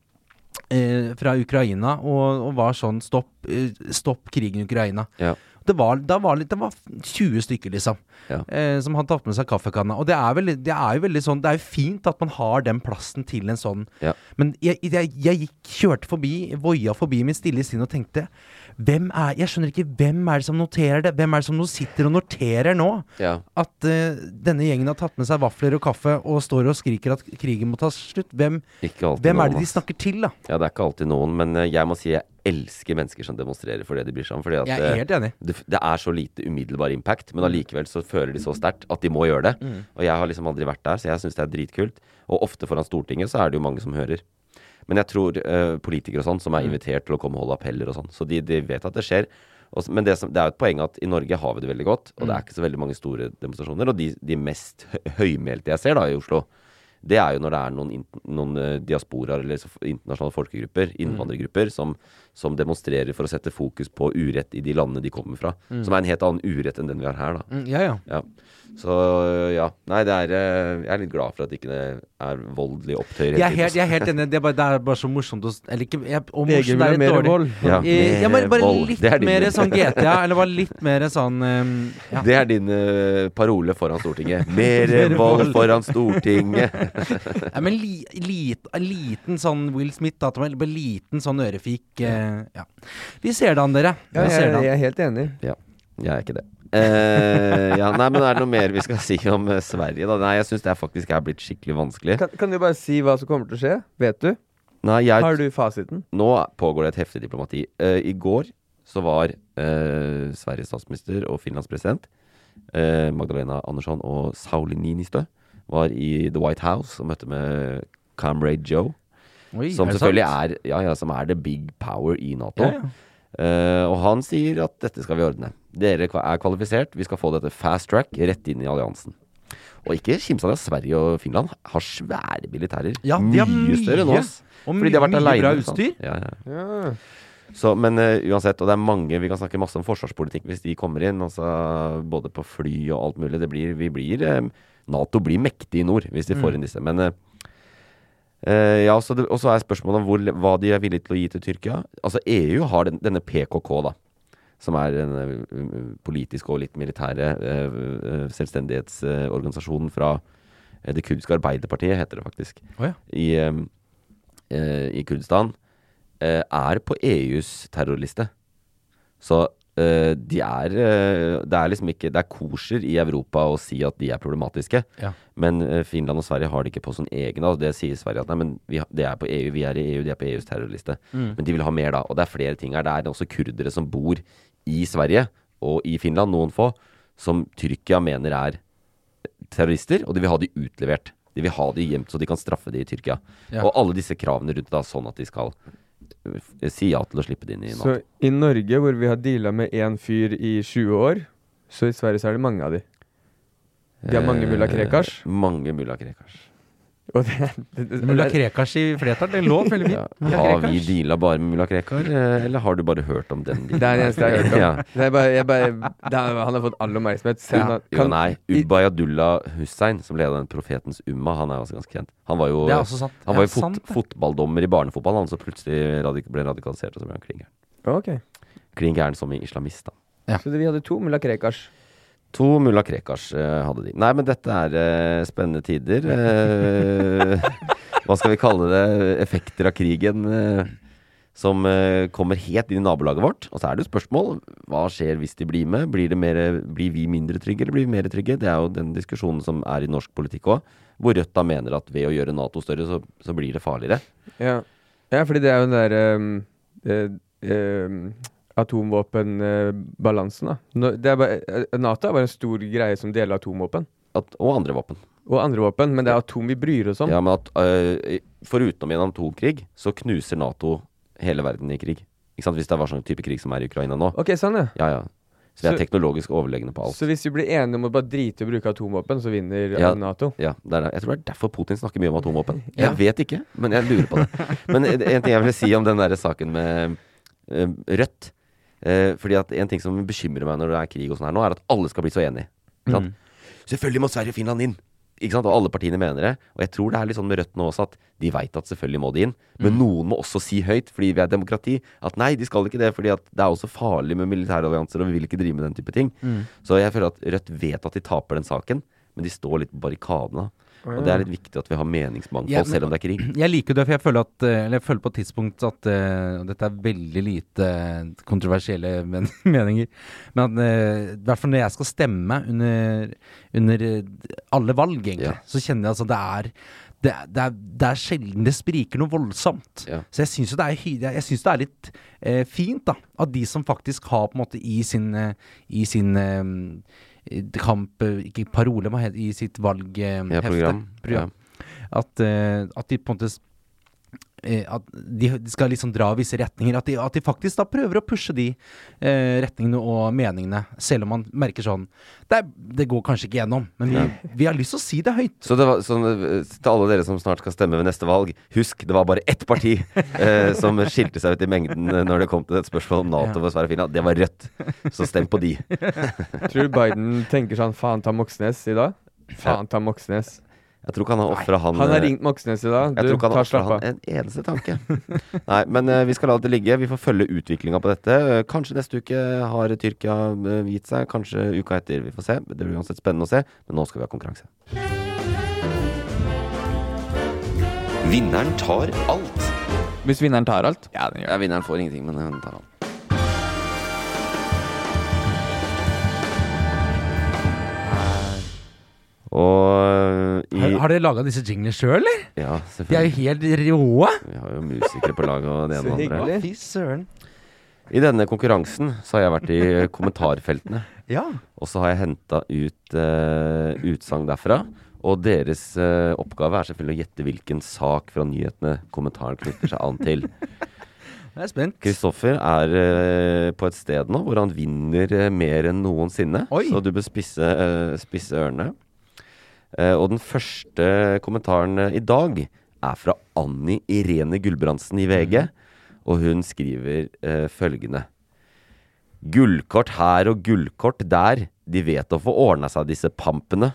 S3: eh, fra Ukraina og, og var sånn stopp, eh, stopp krigen i Ukraina.
S2: Ja.
S3: Det var, da var litt, det var 20 stykker, liksom,
S2: Ja.
S3: eh, som hadde tatt med seg kaffekanna. Og det er, vel, det er jo veldig sånn Det er jo fint at man har den plassen til en sånn
S2: Ja.
S3: Men jeg, jeg, jeg gikk, kjørte forbi, voia forbi mitt stille sinn og tenkte hvem er, Jeg skjønner ikke hvem er det som noterer det? Hvem er det som nå sitter og noterer nå?
S2: Ja.
S3: At eh, denne gjengen har tatt med seg vafler og kaffe og står og skriker at krigen må ta slutt. Hvem,
S2: Ikke alltid
S3: hvem
S2: noen,
S3: er det de
S2: ass.
S3: snakker til, da?
S2: Ja, det er ikke alltid noen, men eh, jeg må si jeg elsker mennesker som demonstrerer for det de bryr seg om. Fordi at
S3: Jeg er
S2: eh,
S3: helt enig.
S2: det, det er så lite umiddelbar impact, men allikevel så føler de så sterkt at de må gjøre det. Og jeg har liksom aldri vært der, så jeg syns det er dritkult. Og ofte foran Stortinget så er det jo mange som hører. Men jeg tror eh, politikere og sånn, som er
S3: Mm.
S2: invitert til å komme og holde appeller og sånn, så de, de vet at det skjer. Og s- men det, som, det er jo et poeng at i Norge har vi det veldig godt,
S3: Mm.
S2: og det er ikke så veldig mange store demonstrasjoner. Og de, de mest hø- høymælte jeg ser da i Oslo, det er jo når det er noen, int- noen eh, diasporaer eller så- internasjonale folkegrupper,
S3: Mm.
S2: innvandrergrupper, som, som demonstrerer for å sette fokus på urett i de landene de kommer fra. Som er en helt annen urett enn den vi har her, da.
S3: Mm, ja, ja.
S2: Ja. Så ja. Nei, det er eh, Jeg er litt glad for at det ikke er voldelig opptøyer
S3: Jeg er
S2: tiden,
S3: helt, jeg er helt enig. Det er, bare, det er bare så morsomt å s- Eller ikke jeg, og
S1: VG
S3: morsomt,
S1: vil
S3: det
S1: ha
S3: er et
S1: mer
S3: dårlig
S1: vold.
S2: Ja,
S3: Eh, ja,
S2: mer
S3: bare, bare
S2: vold.
S3: litt
S2: Det er din-
S3: mer sånn GTA, eller bare litt mer sånn ehm, ja.
S2: Det er din eh, parole foran Stortinget. Mer vold foran Stortinget!
S3: ja, Men li, lit, en liten sånn Will Smith, da. at det var en liten sånn ørefik eh, ja. Vi ser det an, dere.
S1: Ja,
S3: Vi ser
S1: jeg,
S3: det an.
S1: jeg er helt enig.
S2: Ja, jeg er ikke det. Eh, ja, nei, men er det noe mer vi skal si om eh, Sverige, da? Nei, jeg syns det er faktisk er blitt skikkelig vanskelig.
S1: Kan, kan du bare si hva som kommer til å skje? Vet du?
S2: Nei, jeg,
S1: Har du fasiten?
S2: Nå pågår det et heftig diplomati. Eh, I går så var eh, Sveriges statsminister og Finlands president eh, Magdalena Andersson og Sauli Niinistö var i The White House og møtte med Comrade Joe,
S3: Oi,
S2: som
S3: er det
S2: selvfølgelig
S3: sant?
S2: er, ja, ja, som er the big power i Nato.
S3: Ja, ja.
S2: Eh, og han sier at dette skal vi ordne. Dere kva- er kvalifisert, vi skal få dette fast track rett inn i alliansen. Og ikke kimse av det, Sverige og Finland har svære militærer.
S3: Ja, de
S2: mye,
S3: har mye,
S2: større enn oss.
S3: og
S2: Fordi de har vært
S3: mye
S2: alene. liksom.
S3: bra
S2: ikke sant?
S3: utstyr.
S2: Ja, ja.
S1: Ja.
S2: Så, men eh, uansett, og det er mange Vi kan snakke masse om forsvarspolitikk hvis de kommer inn. Altså, både på fly og alt mulig. Det blir, vi blir eh, Nato blir mektig i nord hvis de
S3: Mm.
S2: får inn disse. Men eh, eh, ja, så det, og så er spørsmålet om hvor, hva de er villige til å gi til Tyrkia. Altså EU har den, denne PKK, da. Som er den eh, politiske og litt militære eh, eh, selvstendighetsorganisasjonen fra eh, det kurdiske arbeiderpartiet, heter det faktisk
S3: Å, ja.
S2: i, ehm, eh, i Kurdistan, eh, er på EUs terrorliste. Så eh, de er eh, Det er liksom ikke Det er kosher i Europa å si at de er problematiske,
S3: Ja.
S2: men eh, Finland og Sverige har det ikke på sin egen. Altså det sier Sverige at nei, men vi, har- det er på EU, vi er i EU, de er på EUs terrorliste.
S3: Mm.
S2: Men de vil ha mer da, og det er flere ting her. Det er også kurdere som bor i Sverige og i Finland, noen få, som Tyrkia mener er eh, terrorister, og de vil ha de utlevert. De vil ha de gjemt, så de kan straffe de i Tyrkia.
S3: Ja.
S2: Og alle disse kravene rundt da, sånn at de skal eh, f- si ja til å slippe det inn i Nato.
S1: Så i Norge, hvor vi har deala med én fyr i 20 år, så i Sverige så er det mange av de. De har mange mulla Krekars.
S2: Eh, mange mulla Krekars. Eh.
S1: Og det, det, det,
S3: Mulla Krekars i flertall, den lå veldig
S2: Ja.
S3: fint. Mulla
S2: Har vi
S3: Krekars.
S2: deala bare med mulla Krekar, eh, eller har du bare hørt om den?
S1: det er det eneste jeg har hørt om.
S2: Ja.
S1: Det er bare, jeg bare, det er, han har fått all oppmerksomhet. Selv om han-
S2: Jo,
S1: kan-
S2: nei. um.
S1: i-
S2: Ubayadullah Hussein, som leda den Profetens Umma, han er også ganske kjent. Han var jo,
S3: Det er også sant.
S2: han var
S3: Ja,
S2: jo fot
S3: sant det.
S2: fotballdommer i barnefotball, han så plutselig radik ble radikalisert, og så ble han klin gæren.
S1: Ok.
S2: Klin gæren som i islamist, da.
S1: Så det, vi hadde to mulla Krekars.
S2: To mulla Krekars eh, hadde de. Nei, men dette er eh, spennende tider. Eh, hva skal vi kalle det? Effekter av krigen. eh, som eh, kommer helt inn i nabolaget vårt. Og så er det jo spørsmål hva skjer hvis de blir med? Blir, det mer, blir vi mindre trygge, eller blir vi mer trygge? Det er jo den diskusjonen som er i norsk politikk òg, hvor Rødt da mener at ved å gjøre Nato større, så, så blir det farligere.
S1: Ja. ja, fordi det er jo den der ehm, eh, ehm, atomvåpenbalansen, da. Nå- Det er bare, eh, Nato er bare en stor greie som deler atomvåpen.
S2: At, og andre våpen.
S1: Og andre våpen, men det er atom vi bryr oss om.
S2: Ja, men at eh, foruten en atomkrig, så knuser Nato hele verden i krig. Ikke sant? Hvis det var sånn type krig som er i Ukraina nå.
S1: Ok, sånn, ja.
S2: Ja, ja. Så vi
S1: Så-
S2: er teknologisk overlegne på alt.
S1: Så hvis vi blir enige om å bare drite i å bruke atomvåpen, så vinner
S2: Ja.
S1: eh, Nato?
S2: Ja, det er, det. jeg tror det er derfor Putin snakker mye om atomvåpen. Jeg
S1: Ja.
S2: vet ikke, men jeg lurer på det. Men en ting jeg ville si om den der saken med eh, Rødt. Eh, fordi at En ting som bekymrer meg når det er krig, og sånn her nå er at alle skal bli så enige. Ikke
S1: Mm.
S2: sant? Selvfølgelig må Sverige og Finland inn! Ikke sant? Og alle partiene mener det. Og jeg tror det er litt sånn med Rødt nå også, at de veit at selvfølgelig må de inn. Men
S3: Mm.
S2: noen må også si høyt, fordi vi er demokrati, at nei, de skal ikke det. fordi at det er også farlig med militærallianser, og vi vil ikke drive med den type ting.
S3: Mm.
S2: Så jeg føler at Rødt vet at de taper den saken, men de står litt på barrikadene. Og det er litt viktig at vi har meningsmangfold,
S3: Ja, men-
S2: selv om det er krig.
S3: Jeg liker det, for jeg føler, at, eh, eller jeg føler på et tidspunkt at eh, og Dette er veldig lite eh, kontroversielle men meninger. Men at, eh, i hvert fall når jeg skal stemme under, under eh, alle valg, egentlig,
S2: Ja.
S3: så kjenner jeg altså det er det er, det, er, det er sjelden det spriker noe voldsomt.
S2: Ja.
S3: Så jeg syns jo det er, hy- jeg jeg synes det er litt eh, fint da, at de som faktisk har på en måte i sin, eh, i sin eh, kamp eh, Ikke parole, hva heter det? I sitt valghefte.
S2: Ja, program. Ja.
S3: At, eh, at de på en måte s- eh, at de, de skal liksom dra visse retninger. At de, at de faktisk da prøver å pushe de eh, retningene og meningene. Selv om man merker sånn Det, er, det går kanskje ikke gjennom, men vi, vi har lyst til å si det høyt.
S2: Så, det var, sånn, eh, til alle dere som snart skal stemme ved neste valg, husk det var bare ett parti eh, som skilte seg ut i mengden eh, når det kom til et spørsmål om Nato og Sverige og Finland. Det var Rødt. Så stem på de.
S1: Tror du Biden tenker sånn Faen ta Moxnes i dag? Faen ta Moxnes.
S2: Jeg tror ikke han har ofra han
S1: Han har
S2: eh,
S1: ringt Moxnes i dag.
S2: jeg
S1: Du,
S2: tror ikke han
S1: ta
S2: har ofra
S1: slapp av.
S2: han en eneste tanke. Nei, men eh, vi skal la det ligge. Vi får følge utviklinga på dette. Eh, Kanskje neste uke har Tyrkia eh, gitt seg. Kanskje uka etter. Vi får se. Det blir uansett spennende å se. Men nå skal vi ha konkurranse.
S4: Vinneren tar alt.
S5: Hvis vinneren tar alt?
S2: Ja, vinneren får ingenting, men hun tar han. Og eh, i
S3: Har, har dere laga disse jinglene sjøl, eller?
S2: Ja,
S3: De er jo
S2: selvfølgelig.
S3: helt rå.
S2: Vi har jo musikere på laget og det ene
S1: Så
S2: og det andre.
S1: hyggelig.
S3: Fy søren.
S2: I denne konkurransen så har jeg vært i kommentarfeltene,
S3: Ja.
S2: og så har jeg henta ut eh, utsagn derfra. Og deres eh, oppgave er selvfølgelig å gjette hvilken sak fra nyhetene kommentaren knytter seg an til.
S3: Jeg er spent.
S2: Kristoffer er eh, på et sted nå hvor han vinner eh, mer enn noensinne.
S3: Oi.
S2: Så du bør spisse, eh, spisse ørene. Eh, og den første kommentaren eh, i dag er fra Anni Irene Gulbrandsen i VG.
S3: Mm.
S2: Og hun skriver eh, følgende. Gullkort her og gullkort der. De vet å få ordna seg, disse pampene.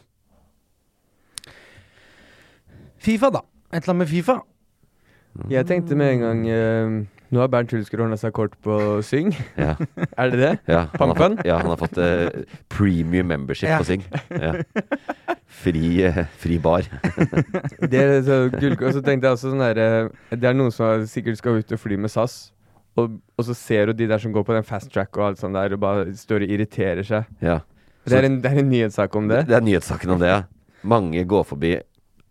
S3: Fifa, da. Et eller annet med Fifa.
S1: Jeg tenkte med en gang ehm, Nå har Bernt Hulsker ordna seg kort på syng.
S2: Ja,
S1: Er det det?
S2: ja, han, har
S1: Pampen?
S2: fått, ja han har fått eh, premium membership
S3: Ja.
S2: på Syng. Ja. Fri, eh, fri bar.
S1: Det er så gullkort. Og så tenkte jeg også sånn der eh, Det er noen som er- sikkert skal ut og fly med SAS. Og, og så ser du de der som går på den fast track og alt sånt der, og bare står og irriterer seg.
S2: Ja.
S1: Det er en, det er en nyhetssak om det.
S2: Det er nyhetssaken om det, ja. Mange går forbi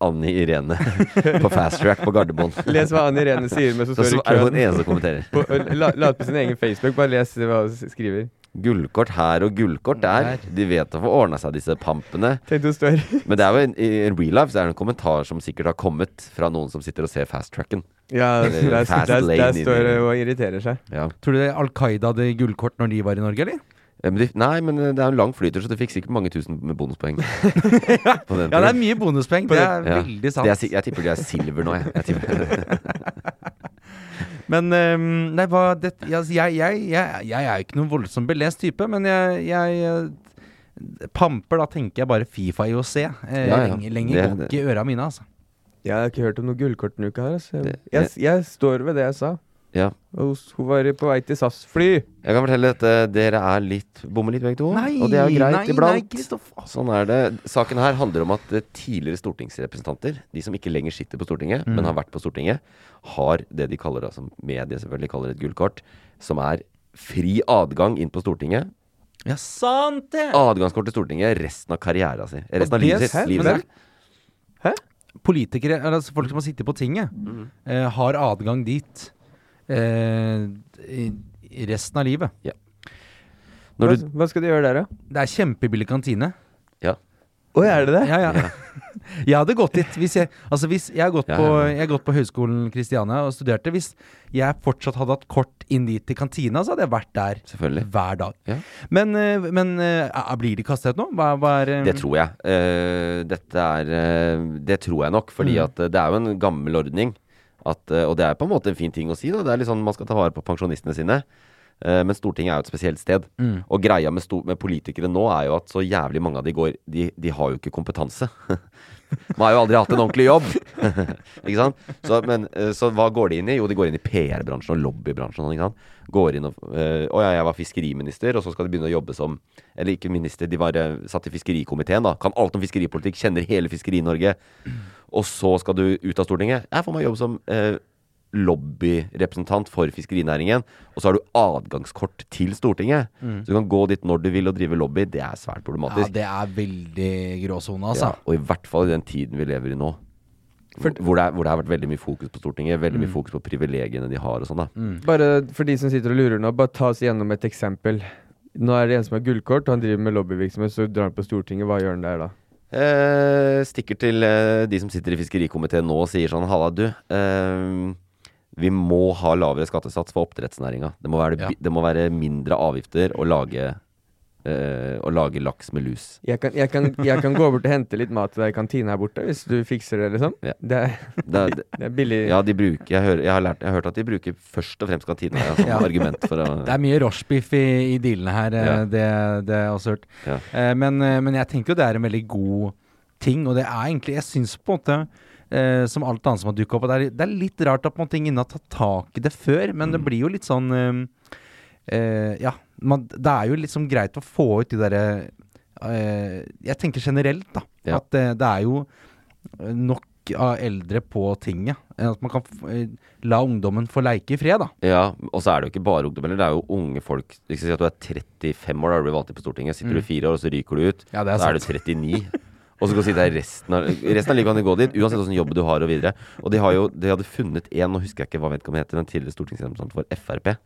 S2: Anni Irene på fast track på Gardermoen.
S1: Les hva Anne Irene sier mens hun
S2: Så,
S1: står
S2: så
S1: i
S2: er det den
S1: køen.
S2: eneste som kommenterer.
S1: På, la, la ut på sin egen Facebook. Bare les hva hun s- skriver.
S2: Gullkort her og gullkort der. De vet å få ordna seg, disse pampene.
S1: Tenkte hun står
S2: Men det er jo en, i en real life så er det en kommentar som sikkert har kommet fra noen som sitter og ser fast tracken.
S1: Ja,
S2: Eller
S1: der, der,
S2: fast
S1: der,
S2: lane
S1: der
S2: inni
S1: står
S2: det.
S1: hun og irriterer seg.
S2: Ja.
S3: Tror du det er Al Qaida hadde gullkort når de var i Norge, eller?
S2: Eh, Men de, nei, men det er en lang flyter, så du fikk sikkert mange tusen med bonuspoeng. På den
S3: Ja, det
S2: turen.
S3: er mye bonuspoeng. Det er
S2: Ja.
S3: veldig sant.
S2: Det er, si- jeg tipper de er silver nå, jeg. jeg tipper.
S3: Men ehm, nei, hva det, altså, jeg, jeg, jeg, jeg er jo ikke noen voldsomt belest type, men jeg, jeg eh, Pamper, da tenker jeg bare Fifa IOC. Eh,
S2: Ja, ja.
S3: Lenge, lenge
S2: Det-
S3: går
S2: det-
S3: ikke i øra mine, altså.
S1: Jeg har ikke hørt om noe gullkort denne uka her. Altså.
S2: Det-
S1: Jeg, jeg står ved det jeg sa.
S2: Ja.
S1: Og hos- hun var på vei til SAS-fly.
S2: Jeg kan fortelle dette. Dere er litt bommer litt begge to.
S3: Nei,
S2: og det er jo greit
S3: nei, nei,
S2: iblant.
S3: Kristoff.
S2: sånn er det. Saken her handler om at eh, tidligere stortingsrepresentanter, de som ikke lenger sitter på Stortinget, men har vært på Stortinget, har det de kaller, da, som media selvfølgelig kaller et gullkort, som er fri adgang inn på Stortinget.
S3: Ja, sant det!
S2: Adgangskort til Stortinget resten av karrieren sin. Resten av
S1: det
S2: livet
S1: er
S2: sitt.
S1: sant,
S2: Livet
S1: men
S2: sitt.
S3: Politikere, eller altså folk som har sittet på tinget, eh, har adgang dit eh, i i resten av livet.
S2: Når
S1: Hva,
S2: du
S1: hva skal de gjøre der, da?
S3: Det er kjempebillig kantine.
S2: Ja.
S1: Å, er det det?
S3: Ja, ja. Jeg hadde gått dit hvis jeg Altså hvis jeg har gått,
S2: Ja,
S3: på,
S2: ja, ja.
S3: jeg har gått på Høgskolen Kristiania og studerte. Hvis jeg fortsatt hadde hatt kort inn dit til kantina, så hadde jeg vært der
S2: Selvfølgelig.
S3: hver dag.
S2: Ja.
S3: Men, eh, men eh, er- blir de kastet ut nå? Hva, hva er eh,
S2: Det tror jeg. Eh, dette er eh, Det tror jeg nok, fordi at eh, det er jo en gammel ordning. At, eh, og det er på en måte en fin ting å si, da. Det er litt sånn man skal ta vare på pensjonistene sine. Eh, men Stortinget er jo et spesielt sted. Og greia med, sto- med politikere nå er jo at så jævlig mange av de går De, de har jo ikke kompetanse. Man har jo aldri hatt en ordentlig jobb. ikke sant? Så, men, eh, så hva går de inn i? Jo, de går inn i PR-bransjen og lobbybransjen. og sånn, Ikke sant? Går inn og eh, Å ja, jeg var fiskeriminister, og så skal de begynne å jobbe som Eller ikke minister, de var eh, satt i fiskerikomiteen, da. Kan alt om fiskeripolitikk, kjenner hele Fiskeri-Norge. Og så skal du ut av Stortinget. Jeg får meg jobb som eh, lobbyrepresentant for fiskerinæringen. Og så har du adgangskort til Stortinget. Så du kan gå dit når du vil og drive lobby. Det er svært
S3: Mm. Ja,
S2: problematisk.
S3: det er veldig gråsone,
S2: Ja,
S3: altså.
S2: og i hvert fall i den tiden vi lever i nå. hvor, det er, hvor det har vært veldig mye fokus på Stortinget, veldig
S3: Mm.
S2: mye fokus på privilegiene de har og sånn. da
S1: Mm. Bare for de som sitter og lurer nå, bare ta oss gjennom et eksempel. Nå er det en som har gullkort, og han driver med lobbyvirksomhet, så drar han på Stortinget. Hva gjør han der da?
S2: eh, Stikker til eh, de som sitter i fiskerikomiteen nå og sier sånn Halla, du. Eh, vi må ha lavere skattesats for oppdrettsnæringa. Det, må være-
S3: Ja.
S2: det må være mindre avgifter å lage, eh, å lage laks med lus.
S1: Jeg kan, jeg, kan, jeg kan gå bort og hente litt mat til deg i kantina her borte, hvis du fikser det, liksom.
S2: Ja.
S1: Det, er,
S2: Det, er-
S1: det er billig.
S2: ja, de bruker, jeg, hører, jeg, har lært, jeg har hørt at de bruker først og fremst kantina ja, som
S3: Ja.
S2: argument for å
S3: Det er mye rochebiff i, i dealene her, eh,
S2: Ja.
S3: det, det har jeg også hørt.
S2: Ja.
S3: Eh, Men, eh, men jeg tenker jo det er en veldig god ting, og det er egentlig Jeg syns på en måte eh, som alt annet som har dukka opp. at Det er, det er litt rart at på en måte ingen har tatt tak i det før, men
S2: Mm.
S3: det blir jo litt sånn eh, eh, Ja, man, det er jo liksom greit å få ut de derre eh, Jeg tenker generelt, da.
S2: Ja.
S3: At eh, det er jo nok av eldre på tinget. eh, At man kan f eh, la ungdommen få leike i fred, da.
S2: Ja, og så er det jo ikke bare ungdom heller. Det er jo unge folk. Hvis du sier at du er 35 år, da du blir valgt inn på Stortinget. Sitter du i fire år, og så ryker du ut.
S3: Mm. Ja, det er
S2: da er du 39. Og så kan du sitte her resten av, resten av livet kan du gå dit, uansett åssen jobb du har og videre. Og de, har jo, de hadde funnet en, nå husker jeg ikke hva vedkommende heter, den tidligere stortingsrepresentanten for Frp,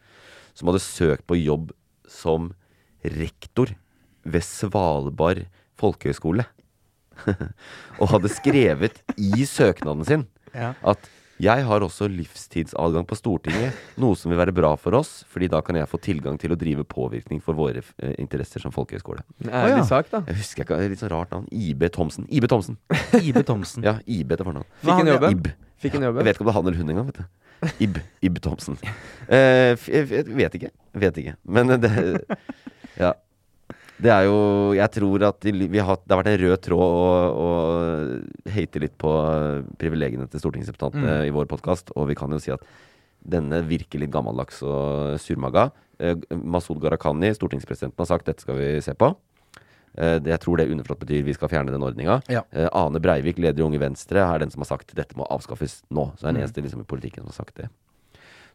S2: som hadde søkt på jobb som rektor ved Svalbard folkehøgskole. og hadde skrevet i søknaden sin
S3: Ja.
S2: at jeg har også livstidsadgang på Stortinget, noe som vil være bra for oss, fordi da kan jeg få tilgang til å drive påvirkning for våre eh, interesser som folkehøgskole.
S1: En
S3: Å,
S1: ærlig
S3: ja.
S1: sak, da.
S2: Jeg husker ikke, det er litt så rart navn. IB Thomsen. IB Thomsen.
S3: Ibe Thomsen.
S2: Ja, IB til fornavn.
S1: Fikk han
S3: han-
S1: jobben?
S2: IB.
S1: Fikk han
S2: Jeg
S1: jobben?
S2: vet ikke om det er han eller hun engang, vet du. IB. IB Thomsen. Eh, f- jeg vet- vet ikke. Vet ikke. Men eh, det Ja. Det er jo Jeg tror at i li- vi har, det har vært en rød tråd å, å hate litt på eh, privilegiene til stortingsrepresentantene i vår podkast, og vi kan jo si at denne virker litt gammeldags og surmaga. Eh, Masud Gharahkhani, stortingspresidenten, har sagt dette skal vi se på. Eh, det- Jeg tror det underforstått betyr vi skal fjerne den ordninga.
S3: Ja.
S2: Eh, Ane Breivik, leder i Unge Venstre, er den som har sagt dette må avskaffes nå. Så er
S3: Mm.
S2: den eneste liksom, i politikken som har sagt det.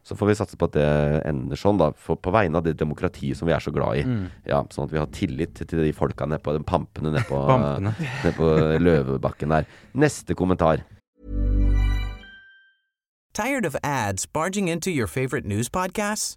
S2: Så får vi satse på at det ender sånn, da. For, på vegne av det demokratiet som vi er så glad i.
S3: Mm.
S2: Ja, sånn at vi har tillit til de folka nede på den pampene nede på,
S3: Pampene.
S2: ned på Løvebakken der. Neste kommentar.
S6: Tired of ads barging into your favorite news podcasts?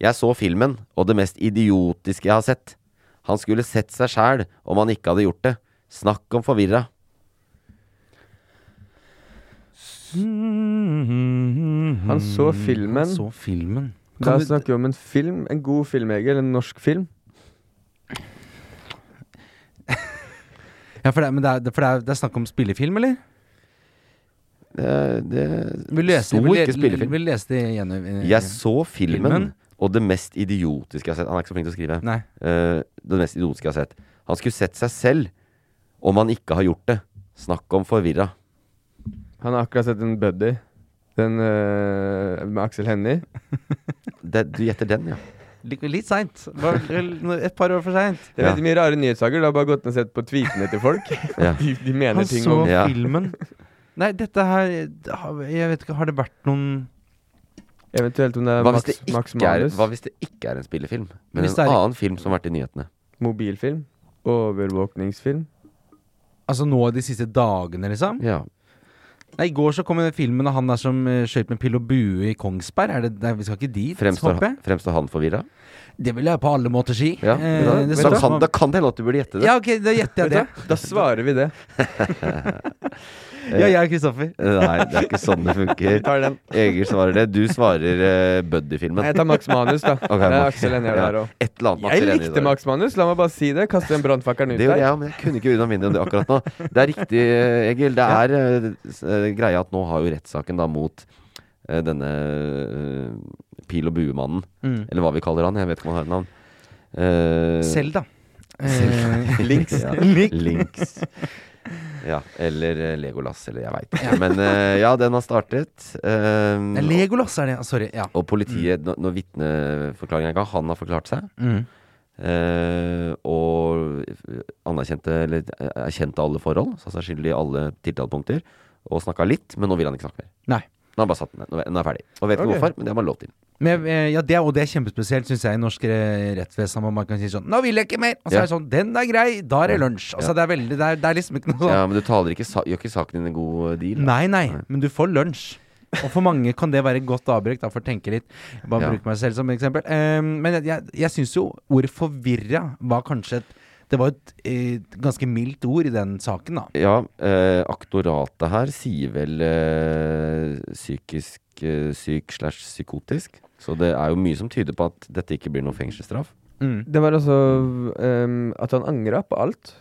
S2: Jeg så filmen, og det mest idiotiske jeg har sett. Han skulle sett seg sjæl om han ikke hadde gjort det. Snakk om forvirra.
S1: Han så filmen.
S3: Han så filmen.
S1: Da
S3: Kan du-
S1: snakker vi om en film, en god film, Egil. En norsk film.
S3: Ja, for det, er- men det, er, for det, er, det er snakk om spillefilm, eller?
S2: Det, det
S3: Vi leste,
S2: sto
S3: vi,
S2: ikke spillefilm.
S3: Vi leste igjen eh,
S2: Jeg så filmen,
S3: Filmen?
S2: og det mest idiotiske jeg har sett Han er ikke så flink til å skrive.
S3: Nei.
S2: Eh, det mest idiotiske jeg har sett. Han skulle sett seg selv om han ikke har gjort det. Snakk om forvirra.
S1: Han har akkurat sett en buddy. Den eh, med Aksel Hennie.
S2: Det, du gjetter den, ja.
S3: Litt, litt seint. Et par år for seint.
S1: Det er veldig mye rare nyhetssaker. Du har bare gått ned og sett på tweetene til folk.
S2: Ja.
S1: De, de mener
S3: Han
S1: ting
S3: så
S1: om
S2: Ja.
S3: filmen. Nei, dette her det har- Jeg vet ikke, har det vært noen
S1: Eventuelt om det er
S2: Hva hvis,
S1: Eh, Max,
S2: det
S1: Max
S2: ikke er,
S1: Manus.
S2: hva hvis det ikke er en spillefilm, men
S3: Hvis
S2: en
S3: det er-
S2: annen film som har vært i nyhetene?
S1: Mobilfilm. Overvåkningsfilm.
S3: Altså nå de siste dagene, liksom?
S2: Ja.
S3: Nei, I går så kom filmen av han der som eh, skjøt med pil og bue i Kongsberg. Er det, nei, vi skal ikke dit,
S2: Fremstår,
S3: håper jeg?
S2: fremstår han forvirra?
S3: Det vil jeg på alle måter si.
S2: Ja.
S3: Eh,
S2: da,
S3: det
S2: da,
S3: står
S2: kan,
S3: som-
S2: da kan det hende at du burde gjette det.
S3: Ja, ok, da gjetter jeg det.
S1: Da svarer vi det.
S3: Ja, jeg
S2: Eh,
S3: er Kristoffer.
S2: Nei, det er ikke sånn det
S1: Vi
S2: funker.
S1: tar den.
S2: Egil svarer det. Du svarer eh,
S1: Nei,
S2: Buddy-filmen.
S1: Jeg tar Max Manus, da.
S2: Ok,
S1: det er
S2: Max.
S1: Aksel Hennie
S2: Ja.
S1: der òg.
S2: Et eller annet
S1: Jeg
S2: Aksel Hennie
S1: likte
S2: der.
S1: Max Manus, la meg bare si det. Kaste den brannfakkelen ut
S2: Det gjorde
S1: der.
S2: jeg, men jeg kunne ikke unna mindre om det akkurat nå. Det er riktig, eh, Egil. Det er eh, s- eh, greia at nå har jo rettssaken da mot eh, denne eh, pil og buemannen,
S3: Mm.
S2: eller hva vi kaller han. Jeg vet ikke om han har et navn. Eh,
S3: Selv, da. Eh,
S2: Links. Ja.
S3: Link.
S2: Links. Ja, eller eh, Legolas, eller jeg veit ikke. Men eh, ja, den har startet.
S3: Nei,
S2: Eh,
S3: Legolas er det. ja, Sorry. Ja.
S2: og politiet, når- når vitneforklaringa ga, han har forklart seg.
S3: Mm.
S2: Eh, og anerkjente eller eh, erkjente alle forhold, sa seg skyldig i alle tiltalepunkter, og snakka litt, men nå vil han ikke snakke mer.
S3: Nei.
S2: Nå har han bare satt den ned. Nå er- Nå er jeg ferdig. Og vet ikke
S1: Ok.
S2: hvorfor, men det har man lov til.
S3: Men, eh, ja, det, er- og det er kjempespesielt, syns jeg, i norsk eh, rettsvesen. hvor Man kan si sånn 'Nå vil jeg ikke mer!' Og så
S2: Ja.
S3: er det sånn 'Den er grei, da er det lunsj'. Altså, det, er veldig, det, er, det er liksom ikke noe sånn
S2: Ja, men du taler ikke, sa- gjør ikke saken din en god eh, deal? da.
S3: Nei, nei, men du får lunsj. Og for mange kan det være et godt avbrekk, da, for å tenke litt. Jeg Bare
S2: Ja.
S3: bruke meg selv som eksempel. Eh, men jeg, jeg, jeg syns jo ordet 'forvirra' var kanskje et Det var et eh, ganske mildt ord i den saken, da.
S2: Ja, eh, aktoratet her sier vel eh, psykisk eh, syk slash psykotisk. Så det er jo mye som tyder på at dette ikke blir noen fengselsstraff.
S3: Mm.
S1: Det var altså ehm, at han angra på alt.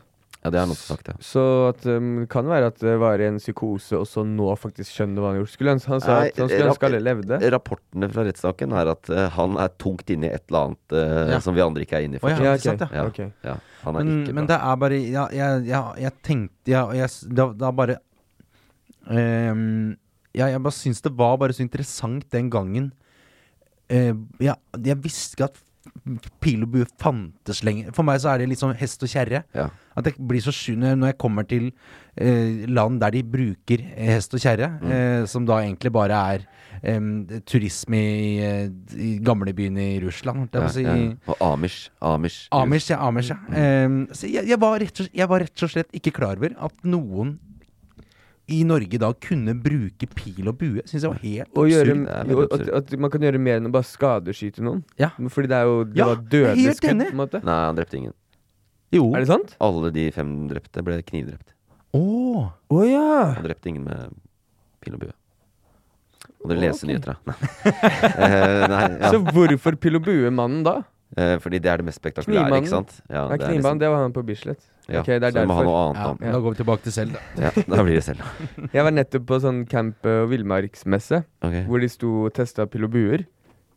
S2: Ja, det er noe som sagt, ja.
S1: Så at, ehm, det kan være at det var i en psykose, og så nå faktisk skjønner hva han gjorde. Skulle ønske, han sa
S2: Nei,
S1: at han skulle
S2: rapp-
S1: ønske alle levde.
S2: Rapportene fra rettssaken er at eh, han er tungt inne i et eller annet eh,
S3: Ja.
S2: som vi andre ikke er inne i.
S3: Å, ja,
S1: Ja,
S3: ikke sant,
S1: ok.
S3: ja.
S2: Ja.
S1: Ok.
S2: Ja, han er
S3: Men,
S2: ikke
S3: men
S2: bra.
S3: det er bare Ja, jeg, jeg, jeg tenkte ja, jeg, s- da, da bare Ehm, Ja, jeg bare syns det var bare så interessant den gangen. Eh, ja, jeg visste ikke at pil og bue fantes lenger. For meg så er det litt sånn hest og kjerre.
S2: Ja.
S3: At jeg blir så sky når når jeg kommer til eh, land der de bruker hest og kjerre,
S2: Mm.
S3: eh, som da egentlig bare er em, turisme i, eh, i gamlebyen i Russland, holdt jeg på å si.
S2: Ja, ja. Og Amish. Amish.
S3: Amish, ja. Amish, ja. Ehm, så jeg, jeg, var rett og, slett- jeg var rett og slett ikke klar over at noen i Norge i dag kunne bruke pil og bue. Syns jeg var helt
S1: Og gjøre,
S2: Absurd, det er veldig
S1: jo, at,
S2: absurd.
S1: at man kan gjøre mer enn å bare skadeskyte noen.
S3: Ja.
S1: Fordi det er jo det
S3: Ja,
S1: var dødelig
S3: helt
S1: skudd,
S3: enig.
S1: på en måte.
S2: Nei, han drepte ingen.
S3: Jo.
S1: Er det sant?
S2: Alle de fem drepte ble knivdrept.
S3: Åh.
S1: Å ja!
S2: Han drepte ingen med pil og bue. Og dere leser nyheter, da. Nei. Eh, nei ja.
S1: Så hvorfor pil og bue-mannen da?
S2: Eh, fordi det er det mest spektakulære,
S1: Knivmannen.
S2: ikke sant? Ja,
S1: Nei,
S2: det er liksom-
S1: Knivmannen, det var han på Bislett.
S2: ja.
S1: Ok, det er
S2: Så vi må ha
S1: derfor.
S2: noe annet
S3: Ja,
S2: om.
S3: men Da går vi tilbake til selv, da.
S2: Ja, da blir det selv.
S1: Jeg var nettopp på sånn camp- og villmarksmesse,
S2: Ok.
S1: hvor de sto og testa pil og buer.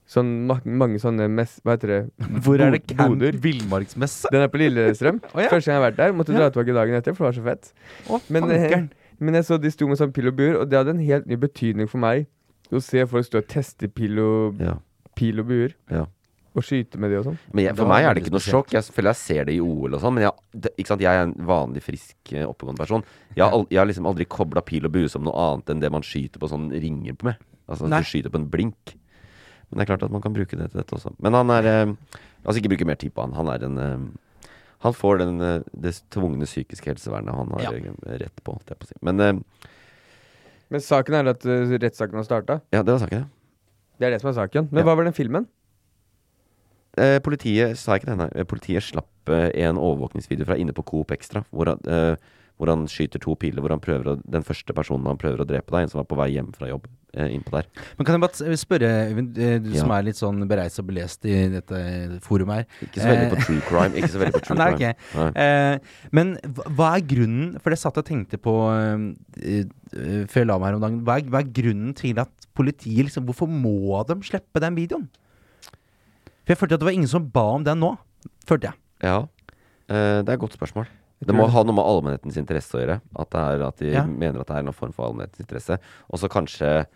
S1: Sånn ma mange sånne mess... Hva heter det?
S3: Hvor er det
S1: Bod-
S3: camp
S1: boder.
S3: villmarksmesse?
S1: Den er på Lillestrøm.
S3: Å, ja.
S1: Første gang jeg har vært der. Måtte
S3: Ja.
S1: dra tilbake dagen etter, for det var så fett.
S3: Å,
S1: Men, eh,
S3: fankeren.
S1: Men jeg så de sto med sånn pil og buer, og det hadde en helt ny betydning for meg. Å se folk stå og teste pil og,
S2: Ja.
S1: pil og buer,
S2: Ja.
S1: og skyte med de og sånn.
S2: Men jeg, for
S3: Det var
S2: meg er det
S3: veldig
S2: ikke noe
S3: spesielt.
S2: sjokk. Jeg føler jeg ser det i OL og sånn, men jeg, det, ikke sant? jeg er en vanlig frisk, eh, oppegående person. Jeg har, al- jeg har liksom aldri kobla pil og bue som noe annet enn det man skyter på sånn ringer på med. Altså
S3: Nei.
S2: at du skyter på en blink. Men det er klart at man kan bruke det til dette også. Men han er eh, La oss ikke bruke mer tid på han. Han er en eh, Han får den, eh, det tvungne psykiske helsevernet han har
S3: Ja.
S2: eh, rett på, holdt jeg på å si. Men eh,
S1: Men saken er at eh, rettssaken har starta.
S2: ja, det var saken, ja.
S1: Det er det som er saken. Men
S2: Ja.
S1: hva var den filmen?
S2: Eh, politiet sa jeg ikke det, nei. Eh, Politiet slapp eh, en overvåkningsvideo fra inne på Coop Extra. Hvor han, eh, hvor han skyter to piler. Hvor han prøver å, den første personen han prøver å drepe, da, en som var på vei hjem fra jobb. eh, innpå der.
S3: Men kan jeg bare spørre, Øyvind, eh, du som
S2: Ja.
S3: er litt sånn bereist og belest i dette forumet her.
S2: Ikke så veldig
S3: Eh,
S2: på true crime. Ikke så veldig på true
S3: Nei,
S2: crime.
S3: ok. Eh, men hva hva er grunnen For det satt jeg og tenkte på eh, eh, før jeg la meg her om dagen. Hva er, hva er grunnen til at politiet liksom Hvorfor må de slippe den videoen? For jeg følte at det var ingen som ba om den nå. Følte jeg.
S2: Ja. Eh, det er et godt spørsmål. Det
S1: tror
S2: må
S1: det.
S2: ha noe med allmennhetens interesse å gjøre. At, det er, at de
S3: Ja.
S2: mener at det er noen form for allmennhetens interesse. Og så kanskje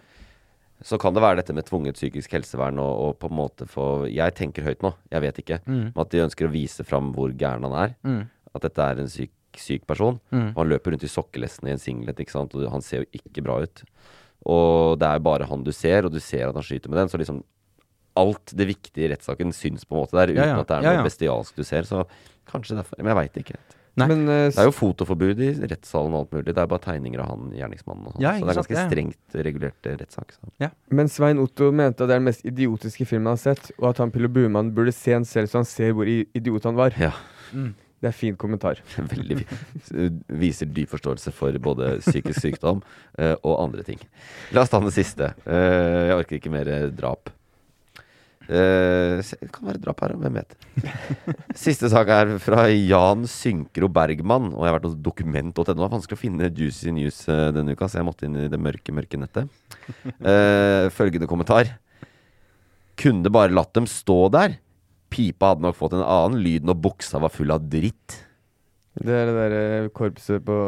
S2: Så kan det være dette med tvunget psykisk helsevern og, og på en måte få Jeg tenker høyt nå, jeg vet ikke.
S3: Mm.
S2: Men at de ønsker å vise fram hvor gæren han er. At dette er en syk, syk person.
S3: Mm.
S2: Og han løper rundt i sokkelestene i en singlet, ikke sant? og han ser jo ikke bra ut. Og det er bare han du ser, og du ser at han skyter med den. Så liksom alt det viktige i rettssaken syns på en måte der, uten
S3: Ja, ja.
S2: at det er
S3: Ja,
S2: noe
S3: ja.
S2: bestialsk du ser. Så kanskje derfor. Men jeg veit ikke.
S3: Nei.
S1: Men eh,
S2: Det er jo fotoforbud i rettssalen og alt mulig. Det er bare tegninger av han gjerningsmannen. Og sånt.
S3: Ja,
S2: så
S3: ikke
S2: det er
S3: sant,
S2: ganske
S3: ja.
S2: strengt regulert eh, rettssak. Så.
S1: Men Svein Otto mente at det er den mest idiotiske filmen han har sett, og at han Pille Buemann burde se den selv, så han ser hvor i- idiot han var.
S2: Ja.
S1: Det er fin kommentar.
S2: Veldig vi- Viser dyp forståelse for både psykisk sykdom eh, og andre ting. La oss ta den siste. Eh, jeg orker ikke mer eh, drap. Eh, se- det kan være drap her, hvem vet. Siste sak er fra Jan Synkro Bergman. Og jeg har vært hos dokument.no. Det var vanskelig å finne juicy news eh, denne uka, så jeg måtte inn i det mørke, mørke nettet. Eh, følgende kommentar. Kunne bare latt dem stå der. Pipa hadde nok fått en annen lyd når buksa var full av dritt.
S1: Det er det derre korpset på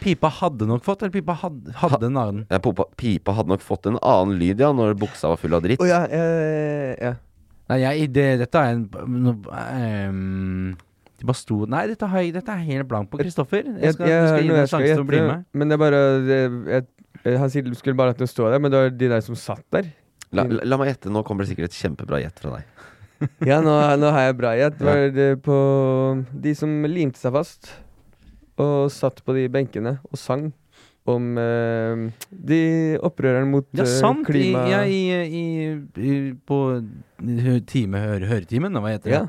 S3: Pipa hadde nok fått, eller pipa hadde, hadde en annen.
S2: Ja, Eh, popa, pipa hadde nok fått en annen lyd, ja, når buksa var full av dritt.
S1: Å ja, eh, ja.
S3: Nei, jeg, det, dette er en no, ehm, det bare sto Nei, dette, har jeg, dette er helt blankt på Kristoffer. Jeg skal, du skal gi deg en sjanse til å bli med.
S1: Men det er bare det- jeg, eh, Han sier du skulle bare latt den stå der, men det var de der som satt der.
S2: La, la, la meg gjette, nå kommer det sikkert et kjempebra gjett fra deg.
S1: Ja, nå, nå har jeg bra gjett. Det var det på de som limte seg fast, og satt på de benkene og sang om eh, de opprørerne mot
S3: Ja,
S1: eh,
S3: sant. I,
S1: klima...
S3: ja, i, i, i, på hø- time, hør, høretimen, da, hva heter det?
S1: Ja.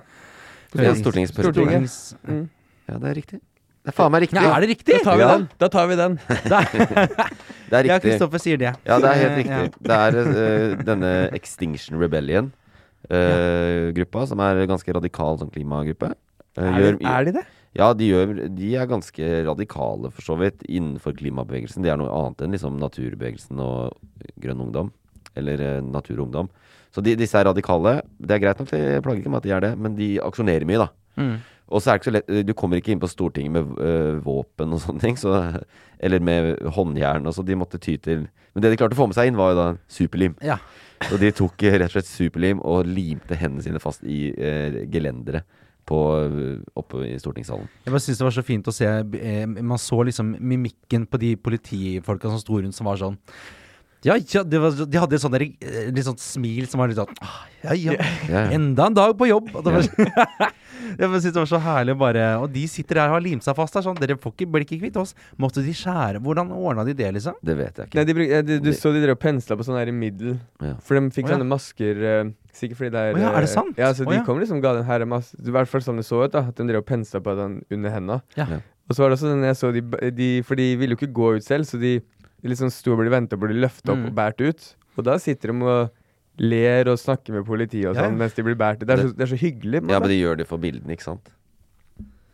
S2: Ja, Stortingets spørretime.
S3: Stortings...
S1: Mm.
S2: Ja, det er riktig. Det er faen meg riktig.
S3: Nei, er det riktig?
S1: Da tar vi
S2: Ja.
S1: den. Da tar vi den.
S2: Det er
S3: Ja,
S2: riktig.
S3: Kristoffer sier det.
S2: Ja, det er helt
S3: Eh,
S2: riktig. Det er eh, denne Extinction Rebellion-gruppa, som er ganske radikal som klimagruppe. Eh, gjør-
S1: de det?
S2: Ja, de, gjør, de er ganske radikale for så vidt innenfor klimabevegelsen. De er noe annet enn liksom naturbevegelsen og grønn ungdom. Eller eh, naturungdom. Så de, disse er radikale. Det er greit nok, det plager ikke meg at de er det, men de aksjonerer mye, da.
S3: Mm.
S2: Og så er det ikke så lett eh, Du kommer ikke inn på Stortinget med øh, våpen og sånne ting. Så, eller med håndjern og så. De måtte ty til Men det de klarte å få med seg inn, var jo da superlim.
S3: Ja.
S2: Så de tok eh, rett og slett superlim og limte hendene sine fast i uh, gelenderet på, øh, oppe i stortingssalen.
S3: Jeg bare syns det var så fint å se eh, Man så liksom mimikken på de politifolka som sto rundt, som var sånn ja, ja, det var, de hadde et sånt der, eh, litt sånt smil som var litt sånn ah, Ja, ja,
S2: Ja, ja.
S3: enda en dag på jobb! Og det var, sånn, jeg bare synes det var så herlig å bare Og de sitter der og har limt seg fast der sånn. Dere får ikke, blir ikke kvitt oss. Måtte de skjære Hvordan ordna de det, liksom?
S2: Det vet jeg
S1: Nei,
S2: ikke.
S1: de bruk, eh, de, du
S2: De-
S1: så de drev og pensla på sånn her i middel.
S2: Ja.
S1: For de fikk
S3: Å, ja.
S1: sånne masker eh, Sikkert fordi det er
S3: Å, ja, er det
S1: eh,
S3: sant?
S1: Ja, så
S3: Å,
S1: de
S3: ja.
S1: kom liksom ga den her en masse I hvert fall sånn det så ut, da. At de drev og pensla på den under henda.
S3: Ja.
S2: Ja.
S1: Og så var det også den jeg så de, b- de For de ville jo ikke gå ut selv, så de liksom sto og ble venta og ble løfta opp
S3: Mm.
S1: og båret ut. Og da sitter de og ler og snakker med politiet og
S3: Ja, ja.
S1: sånn mens de blir båret ut. Det, er så- det er så hyggelig.
S2: Ja,
S1: men
S2: men de gjør det for bildene, ikke sant?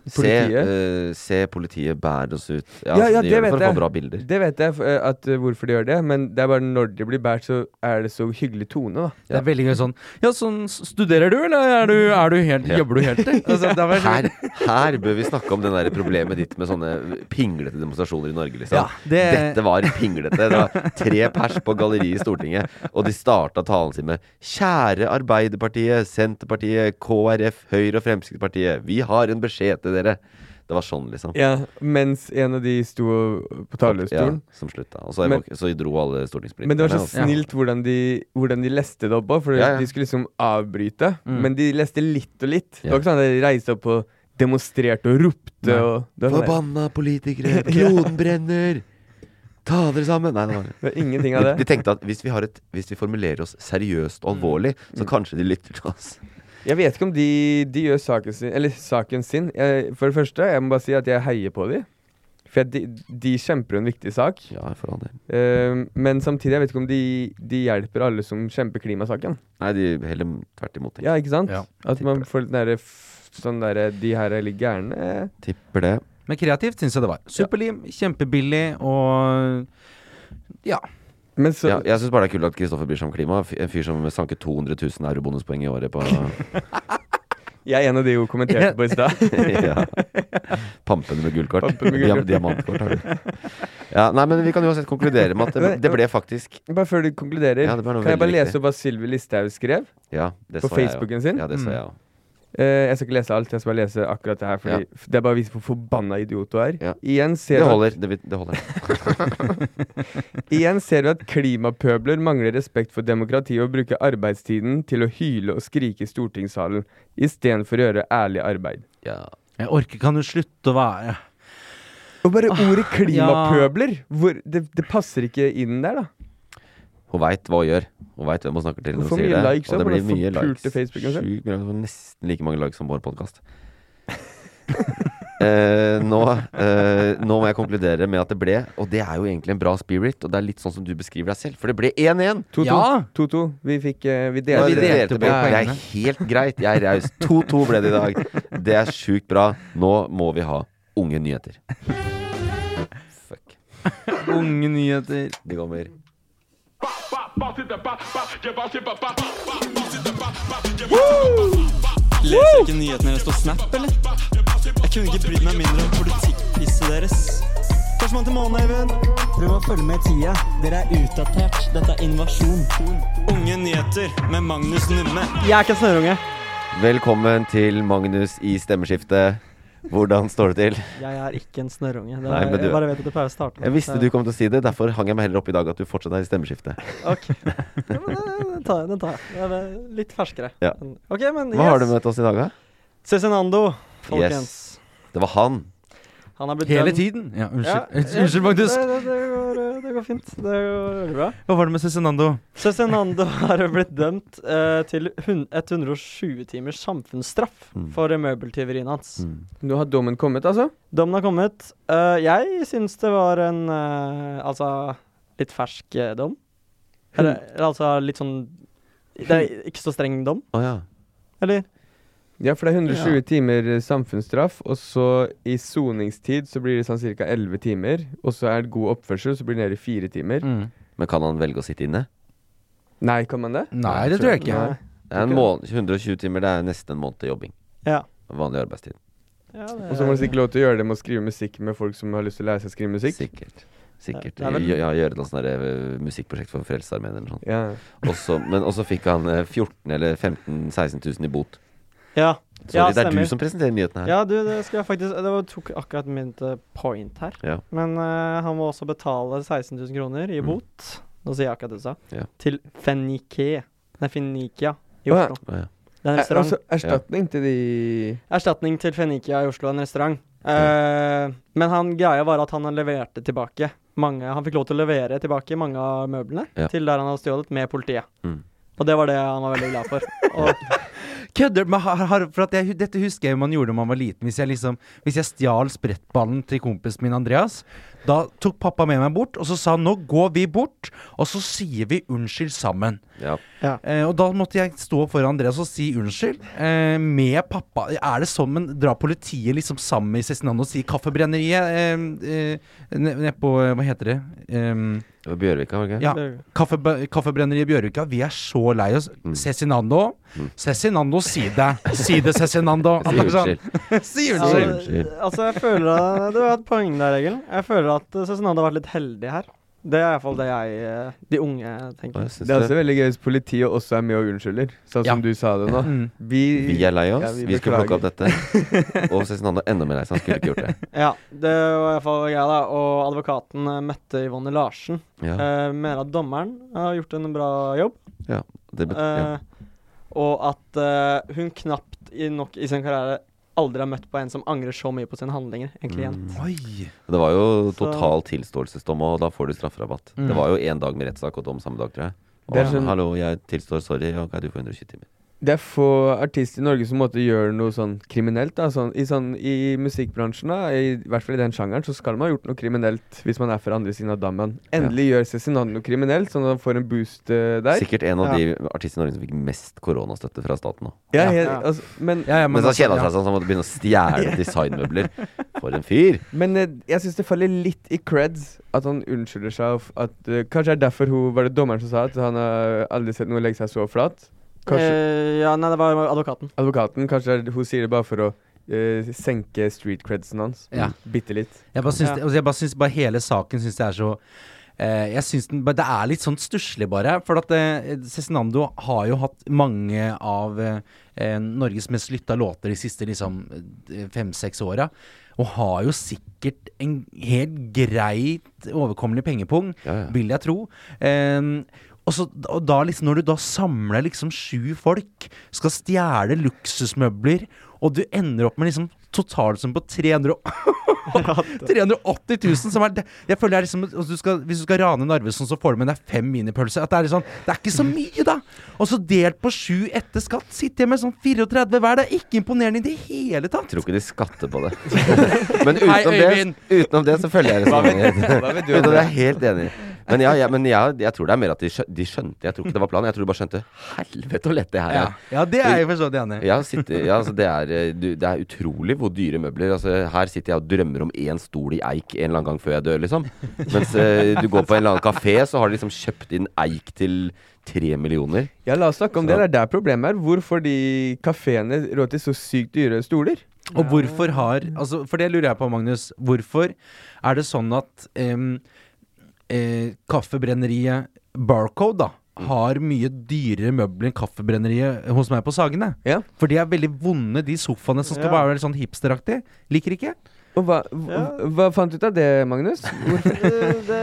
S2: Se,
S1: Politiet?
S2: øh, se politiet bære oss ut. Ja, altså,
S1: Ja,
S2: de
S1: ja, det
S2: gjør det for
S1: vet
S2: å
S1: jeg.
S2: få bra bilder.
S1: Det vet jeg, f- eh, at, eh, hvorfor de gjør det, men det er bare når de blir båret, så er det så hyggelig tone, da.
S3: Det er veldig gøy sånn Ja, sånn Studerer du, eller er du, er du helt
S2: Ja.
S3: Jobber du helt, eller? Altså, det var
S2: Her, her bør vi snakke om den der problemet ditt med sånne pinglete demonstrasjoner i Norge. liksom
S3: Ja, det-
S2: Dette var pinglete. Det var tre pers på galleriet i Stortinget, og de starta talen sin med 'Kjære Arbeiderpartiet, Senterpartiet, KrF, Høyre og Fremskrittspartiet. Vi har en beskjed til dere.' Det var sånn, liksom.
S1: Ja, mens en av de sto og- på
S2: Ja,
S1: talerstolen.
S2: som slutta. Og så,
S1: Men-
S2: så dro alle stortingspolitikerne.
S1: Men det var så
S2: altså.
S3: Ja.
S1: snilt hvordan de, hvordan de leste det opp òg, for
S2: Ja, ja.
S1: de skulle liksom avbryte.
S3: Mm.
S1: Men de leste litt og litt. Det
S2: Ja.
S1: var ikke sånn at de reiste opp og demonstrerte og ropte
S3: Nei.
S1: og det var, sånn
S2: Forbanna politikere, kloden brenner! Ta dere sammen! Nei, det var
S1: der. det var ingenting av
S2: Vi, vi
S1: det.
S2: tenkte at hvis vi, har et, hvis vi formulerer oss seriøst og alvorlig,
S1: Mm.
S2: så kanskje de lytter til oss.
S1: Jeg vet ikke om de, de gjør saken sin Eller saken sin. Jeg, for det første, jeg må bare si at jeg heier på de. For de, de kjemper jo en viktig sak.
S2: Ja, for all del.
S1: Eh, men samtidig, jeg vet ikke om de, de hjelper alle som kjemper klimasaken.
S2: Nei, de heller tvert imot. tenker jeg.
S1: Ja, ikke sant?
S3: Ja,
S1: At man får litt nære f- sånn derre De her er litt gærne. eh,
S2: Tipper det.
S3: Men kreativt syns jeg det var. Superlim, kjempebillig og Ja.
S1: Men så
S2: Ja, jeg syns bare det er kult at Kristoffer bryr seg om klima. Fy- En fyr som sanket 200 000 eurobonuspoeng i året på
S1: Jeg er en av de hun kommenterte på i stad.
S2: ja. Pampene med gullkort.
S1: Pampene med
S2: Diam
S1: gullkort.
S2: diamantkort har du. Ja, nei, men vi kan uansett konkludere med at det, det ble faktisk
S1: Bare før du konkluderer,
S2: Ja, det var noe
S1: kan jeg bare
S2: veldig
S1: lese
S2: riktig.
S1: opp hva Sylvi Listhaug skrev
S2: Ja, det
S1: på
S2: så jeg jo.
S1: Facebooken sin? Mm.
S2: Ja, det så jeg òg.
S1: Eh, jeg skal ikke lese alt, jeg skal bare lese akkurat det her. Fordi
S2: Ja.
S1: f- Det er bare å vise hvor forbanna idiot du er.
S2: Ja.
S1: Igjen,
S2: Det
S1: ser vi
S2: holder. Det, vil- det holder.
S1: at, igjen ser vi at klimapøbler mangler respekt for demokratiet og bruker arbeidstiden til å hyle og skrike i stortingssalen istedenfor å gjøre ærlig arbeid.
S2: Ja.
S3: Jeg orker, kan du slutte å være
S1: Og bare
S2: Ah,
S1: ordet
S3: ja.
S1: klimapøbler! Hvor, det, det passer ikke inn der, da.
S2: Hun veit hva hun gjør. Hun veit hvem hun snakker til. når
S1: Hun
S2: hun
S1: får
S2: sier
S1: mye
S2: det.
S1: likes
S2: Og
S1: da,
S2: det
S1: på
S2: blir
S1: den
S2: mye
S1: forpulte
S2: likes.
S1: Facebooken
S2: Sjukt
S1: sin.
S2: mye. likes. Hun får Nesten like mange likes som vår podkast. nå, eh, nå må jeg konkludere med at det ble, og det er jo egentlig en bra spirit, og det er litt sånn som du beskriver deg selv, for det ble 1-1.
S1: 2-2.
S3: Ja!
S1: 2-2. Vi fikk eh, Vi
S2: Ja,
S1: delte.
S3: vi
S2: dere
S3: delte
S2: delte
S3: på
S2: poeng. Det
S3: poengene.
S2: er helt greit. Jeg er raus. 2-2 ble det i dag. Det er sjukt bra. Nå må vi ha unge nyheter. Fuck.
S3: Unge nyheter.
S2: De kommer.
S5: Leser jeg ikke nyhetene deres på Snap, eller? Jeg kunne ikke brydd meg mindre om politikkpisset deres. Førstemann til månen, Eivind. Prøv å følge med i tida. Dere er utdatert. Dette er invasjon. Unge nyheter med Magnus Numme. Jeg er ikke en snørunge.
S2: Velkommen til Magnus i stemmeskiftet. Hvordan står det til?
S5: Jeg er ikke en snørunge. Det er,
S2: Nei, men du-
S5: Jeg bare vet at det pleier å starte med.
S2: Jeg visste du
S5: Det er-
S2: kom til å si det, derfor hang jeg meg heller opp i dag at du fortsatt er i stemmeskiftet.
S5: Ok. Ja, men det- Den tar jeg. Den tar jeg. Det er eh, litt ferskere.
S2: Ja.
S5: Ok, men yes.
S2: Hva har du med til oss i dag, da?
S5: Cezinando, folkens.
S2: Det var han.
S5: Han er blitt
S3: Hele
S5: dømt.
S3: tiden. Ja,
S5: Ja,
S3: unnskyld.
S5: ja,
S3: Unnskyld, Magnus.
S5: Det, det, det, går, eh, det går fint. Det går veldig bra.
S3: Hva var det med Cezinando?
S5: Cezinando har blitt dømt eh, til hun- 120 timers samfunnsstraff
S2: Mm.
S5: for møbeltyverien hans.
S1: Nå har dommen kommet, altså.
S5: Dommen har kommet. Eh, jeg syns det var en eh, altså litt fersk eh, dom. Eller altså litt sånn Det er ikke så streng dom,
S2: Å ja.
S5: eller?
S1: Ja, for det er 120
S5: Ja.
S1: timer eh, samfunnsstraff, og så i soningstid så blir det sånn ca. 11 timer. Og så er det god oppførsel, så blir det nede i fire timer.
S3: Mm.
S2: Men kan han velge å sitte inne?
S1: Nei, kan man det?
S3: Nei, det tror jeg ikke.
S1: Nei.
S2: Det er en
S1: Ikke.
S2: måned, 120 timer, det er nesten en måned til jobbing.
S5: Ja.
S2: Vanlig arbeidstid.
S5: ja det,
S1: Og så må du sikkert lov til å gjøre det med å skrive musikk med folk som har lyst til å lære seg å skrive musikk.
S2: Sikkert. Sikkert.
S5: Ja,
S2: Ja,
S5: det er vel-
S2: gjøre et eller annet sånt der, eh, musikkprosjekt for Frelsesarmeen eller noe sånt.
S1: Ja.
S2: Og så- men også fikk han eh, 14 eller 15 16 000 i bot.
S5: Ja.
S2: Sorry, det er
S5: stemmer.
S2: du som presenterer nyhetene her.
S5: Ja, du, det skal jeg faktisk Det var, tok akkurat mitt eh, point her.
S2: Ja.
S5: Men eh, han må også betale 16 000 kroner i
S2: Mm.
S5: bot, nå sier jeg akkurat det du sa,
S2: Ja.
S5: til Fenike. Nei, Fenikia i
S1: Å, ja.
S5: Oslo.
S2: Å, ja. Eh,
S5: Det er en
S1: Er,
S5: restaurant.
S1: altså erstatning til de
S5: Erstatning til Fenikia i Oslo, en restaurant. Eh, Men han greia var at han leverte tilbake mange Han fikk lov til å levere tilbake mange av møblene
S2: Ja.
S5: til der han hadde stjålet, med politiet.
S2: Mm.
S5: Og det var det han var veldig glad for. Og,
S3: Kødder men har, har, for at jeg, hu- Dette husker jeg man gjorde da man var liten. Hvis jeg, liksom, hvis jeg stjal sprettballen til kompisen min Andreas, da tok pappa med meg bort, og så sa han nå går vi bort, og så sier vi unnskyld sammen.
S2: Ja.
S3: Eh, og da måtte jeg stå foran Andreas og si unnskyld eh, med pappa. Er det sånn, men drar politiet liksom sammen i Cezinando og sier Kaffebrenneriet eh, eh, ned- ned på, eh, Hva heter det? Eh,
S2: Det var Bjørvika, var det ikke?
S3: ja, kaffe, Kaffebrenneriet i Bjørvika, vi er så lei oss.
S2: Mm.
S3: Cezinando. Cezinando, si det. Si det, Cezinando.
S2: Si unnskyld.
S3: Si
S5: Ja,
S2: Unnskyld,
S3: unnskyld.
S5: al- altså, jeg føler at, Du har et poeng der, Egil. Jeg føler at eh, Cezinando har vært litt heldig her. Det er iallfall det jeg eh, De unge
S2: Å,
S5: tenker.
S2: jeg syns
S1: Det er
S2: det.
S1: også veldig gøy hvis politiet også er med og unnskylder, sånn
S3: Ja.
S1: som du sa det nå.
S3: Mm.
S1: Vi,
S2: Vi er lei oss.
S1: Ja, vi
S2: vi skulle plukke opp
S1: beklager.
S2: dette. Og Cezinando er enda mer lei seg. Han skulle ikke gjort det.
S5: Ja, det var iallfall greia, da. Og advokaten eh, Mette Yvonne Larsen
S2: Ja,
S5: eh, mener at dommeren har gjort en bra jobb.
S2: det bet ja.
S5: eh, Og at eh, hun knapt i, nok i sin karriere aldri har møtt på en som angrer så mye på sine handlinger. En klient.
S2: Mm.
S3: Oi.
S2: Det var jo
S5: så-
S2: total tilståelsesdom, og da får du strafferabatt.
S3: Mm.
S2: Det var jo én dag med rettssak og dom samme dag, tror jeg. Og
S1: Det er
S2: han,
S1: sånn-
S2: Hallo, jeg tilstår, sorry. Ok, du får 120 timer.
S1: det er få artister i Norge som måtte gjøre noe sånn kriminelt. Da. Sånn, i, sånn, I musikkbransjen, da, i, i hvert fall i den sjangeren, så skal man ha gjort noe kriminelt hvis man er fra andre siden av dammen. Endelig gjør Cezinando noe kriminelt, sånn at han får en boost eh, der.
S2: Sikkert en av de artistene i Norge som fikk mest koronastøtte fra staten nå.
S1: Ja, helt, Altså, men
S3: Ja, ja,
S2: Men så
S3: altså,
S2: kjeda
S3: ja.
S2: han seg sånn, så han måtte begynne å stjele designmøbler. For en fyr!
S1: men eh, jeg syns det faller litt i creds at han unnskylder seg. og f- At, eh, kanskje det er derfor hun, var det dommeren som sa at han har aldri sett noen legge seg så flat? Kanskje
S5: Eh, ja, nei, det var advokaten.
S1: advokaten kanskje er, hun sier det bare for å eh, senke street credsen hans.
S3: Ja.
S1: Bitte litt.
S3: Jeg bare syns,
S5: Ja.
S3: altså, jeg bare syns bare hele saken syns jeg er så eh, jeg syns den, bare- Det er litt sånn stusslig, bare. For at eh, Cezinando har jo hatt mange av eh, eh, Norges mest lytta låter de siste liksom eh, fem-seks åra. Og har jo sikkert en helt greit overkommelig pengepung,
S2: Ja, ja.
S3: vil jeg tro. Eh, og, så, og da liksom, når du da samler liksom sju folk, skal stjele luksusmøbler, og du ender opp med liksom totalsum på 300 380 000 som er det. Jeg føler det er liksom altså, du skal, Hvis du skal rane Narvesen, så får du med deg fem minipølser. At det, er litt sånn, det er ikke så mye, da! Og så delt på sju etter skatt sitter jeg med sånn 34 hver. Det er ikke imponerende i det hele tatt!
S2: Tror ikke de skatter på det. Men utenom,
S3: Hei, Øyvind.
S2: det, utenom det så følger jeg resonnementet.
S1: Hva vet du om
S2: Utenom det
S1: det?
S2: er jeg helt enig. Men, ja, ja, men jeg, jeg tror det er mer at de skjønte, de skjønte Jeg tror ikke det var planen. Jeg tror de bare skjønte Helvete hvor lett det her
S3: Ja,
S2: er.
S3: ja det er jeg for så vidt enig i.
S2: Ja, sitter, ja, altså det, er, eh, du, det er utrolig hvor dyre møbler altså, Her sitter jeg og drømmer om én stol i eik en eller annen gang før jeg dør, liksom. Mens eh, du går på en eller annen kafé, så har de liksom kjøpt inn eik til tre millioner.
S1: Ja, la oss snakke om
S2: Så-
S1: det. Det er der problemet er. Hvorfor de kafeene råd til så sykt dyre stoler?
S3: Og hvorfor har altså, For det lurer jeg på, Magnus. Hvorfor er det sånn at em, eh, kaffebrenneriet Barcode da har mye dyrere møbler enn kaffebrenneriet hos meg på Sagene?
S1: Ja.
S3: For de er veldig vonde, de sofaene som skal
S5: Ja.
S3: bare være litt sånn hipsteraktig. Liker ikke.
S1: Og hva, hva-
S5: Ja.
S1: hva fant du ut av det, Magnus? Hvorfor?
S5: Eh, det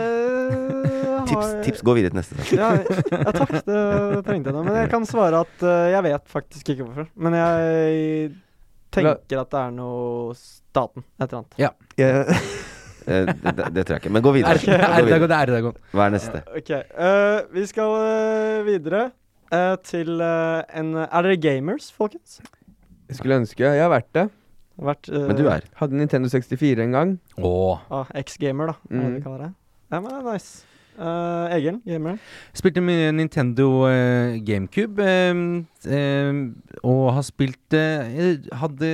S2: Tips,
S5: har-
S2: tips, gå videre til neste sak.
S5: Ja, ja, takk. Det trengte jeg nå. Men jeg kan svare at eh, jeg vet faktisk ikke hvorfor. Men jeg tenker at det er noe staten, et eller annet.
S2: Eh, det, det, det tror jeg ikke. Men gå videre. Gå
S3: Er- er- Erdogan,
S2: videre.
S3: det er Erdogan.
S2: Hva er neste?
S5: Ok, eh, vi skal eh, videre eh, til eh, en Er dere gamers, folkens?
S1: Jeg skulle ønske Jeg har vært det.
S5: Vært, eh,
S2: Men du er
S1: Hadde Nintendo 64 en gang.
S3: Åh.
S5: ah, Ex-gamer, da. er det
S1: Mm.
S5: det vi kaller det. Ja, men det er nice. Eh, Egil, gamer.
S3: Spilte mye Nintendo eh, GameCube em, em, og har spilt eh, Hadde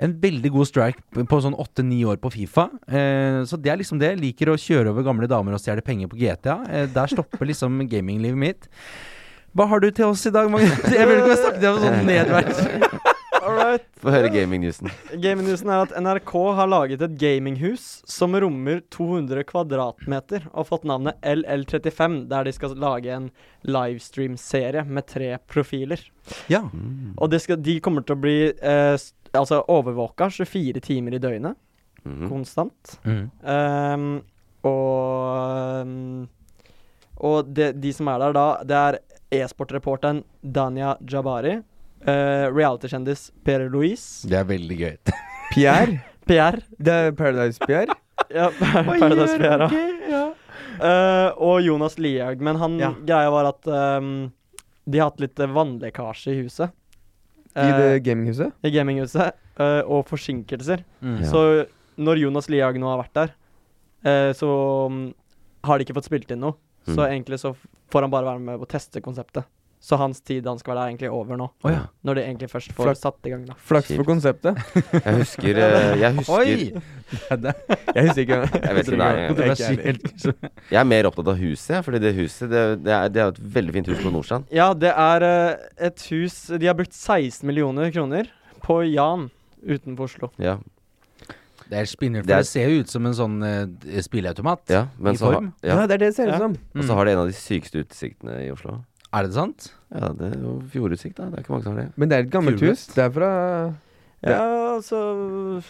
S3: en veldig god strike p- på sånn åtte-ni år på Fifa. Eh, så det er liksom det. Liker å kjøre over gamle damer og stjele penger på GTA. Eh, der stopper liksom gaminglivet mitt. Hva har du til oss i dag, Magnus? Jeg vet ikke om jeg snakket om sånn nedverdigende.
S5: All right.
S2: Få høre gaming-newsen.
S5: Gaming-newsen er at NRK har laget et gaminghus som rommer 200 kvadratmeter, og fått navnet LL35, der de skal lage en livestream-serie med tre profiler.
S3: Ja.
S5: Og de, skal, de kommer til å bli eh, s- altså overvåka 24 timer i døgnet,
S2: Mhm.
S5: konstant.
S3: Mm.
S5: Ehm, og ehm, og de, de som er der da, det er e-sportreporteren Dania Jabari, eh, realitykjendis Per Louise,
S3: Det er veldig gøy.
S1: Pierre.
S5: PR
S1: Det er Paradise Pierre.
S5: Ja, Paradise PR, ja. Eh, og Jonas Lihaug. Men han,
S1: Ja.
S5: greia var at ehm, de har hatt litt eh, vannlekkasje i huset.
S1: I
S5: Eh,
S1: det gaminghuset.
S5: I gaminghuset. eh, og forsinkelser.
S3: Mm.
S2: Ja.
S5: Så når Jonas Lihaug nå har vært der, eh, så mm, har de ikke fått spilt inn noe. Så
S2: Mm.
S5: egentlig så f- får han bare være med og teste konseptet. Så hans tid han skal være der, er egentlig over nå.
S3: Å ja.
S5: Når de egentlig først får
S1: Flak-
S5: satt i gang, da.
S1: Flaks
S2: Kjipt.
S1: for konseptet.
S2: Jeg husker eh, Jeg husker
S3: Det
S1: Jeg husker ikke.
S2: Jeg vet ikke, nei.
S3: er kontroversielt.
S2: Jeg er mer opptatt av huset, jeg, fordi det huset det, det, er, det er jo et veldig fint hus på Nordstrand.
S5: Ja, det er eh, et hus De har brukt 16 millioner kroner på Jan utenfor Oslo.
S2: Ja,
S3: Det er spinnert,
S2: Det
S3: for
S2: er-
S3: det ser jo ut som en sånn eh, spilleautomat.
S2: ja, men
S3: I
S2: så har,
S3: form?
S2: ja.
S1: det er det det ser ut
S5: Ja.
S1: som.
S2: Og så har det en av de sykeste utsiktene i Oslo.
S3: Er det sant?
S2: Ja, det er jo fjordutsikt, da. Det er ikke mange som har det.
S1: Men det er et gammelt
S3: Kult.
S1: hus. Det er fra Ja.
S5: Ja, altså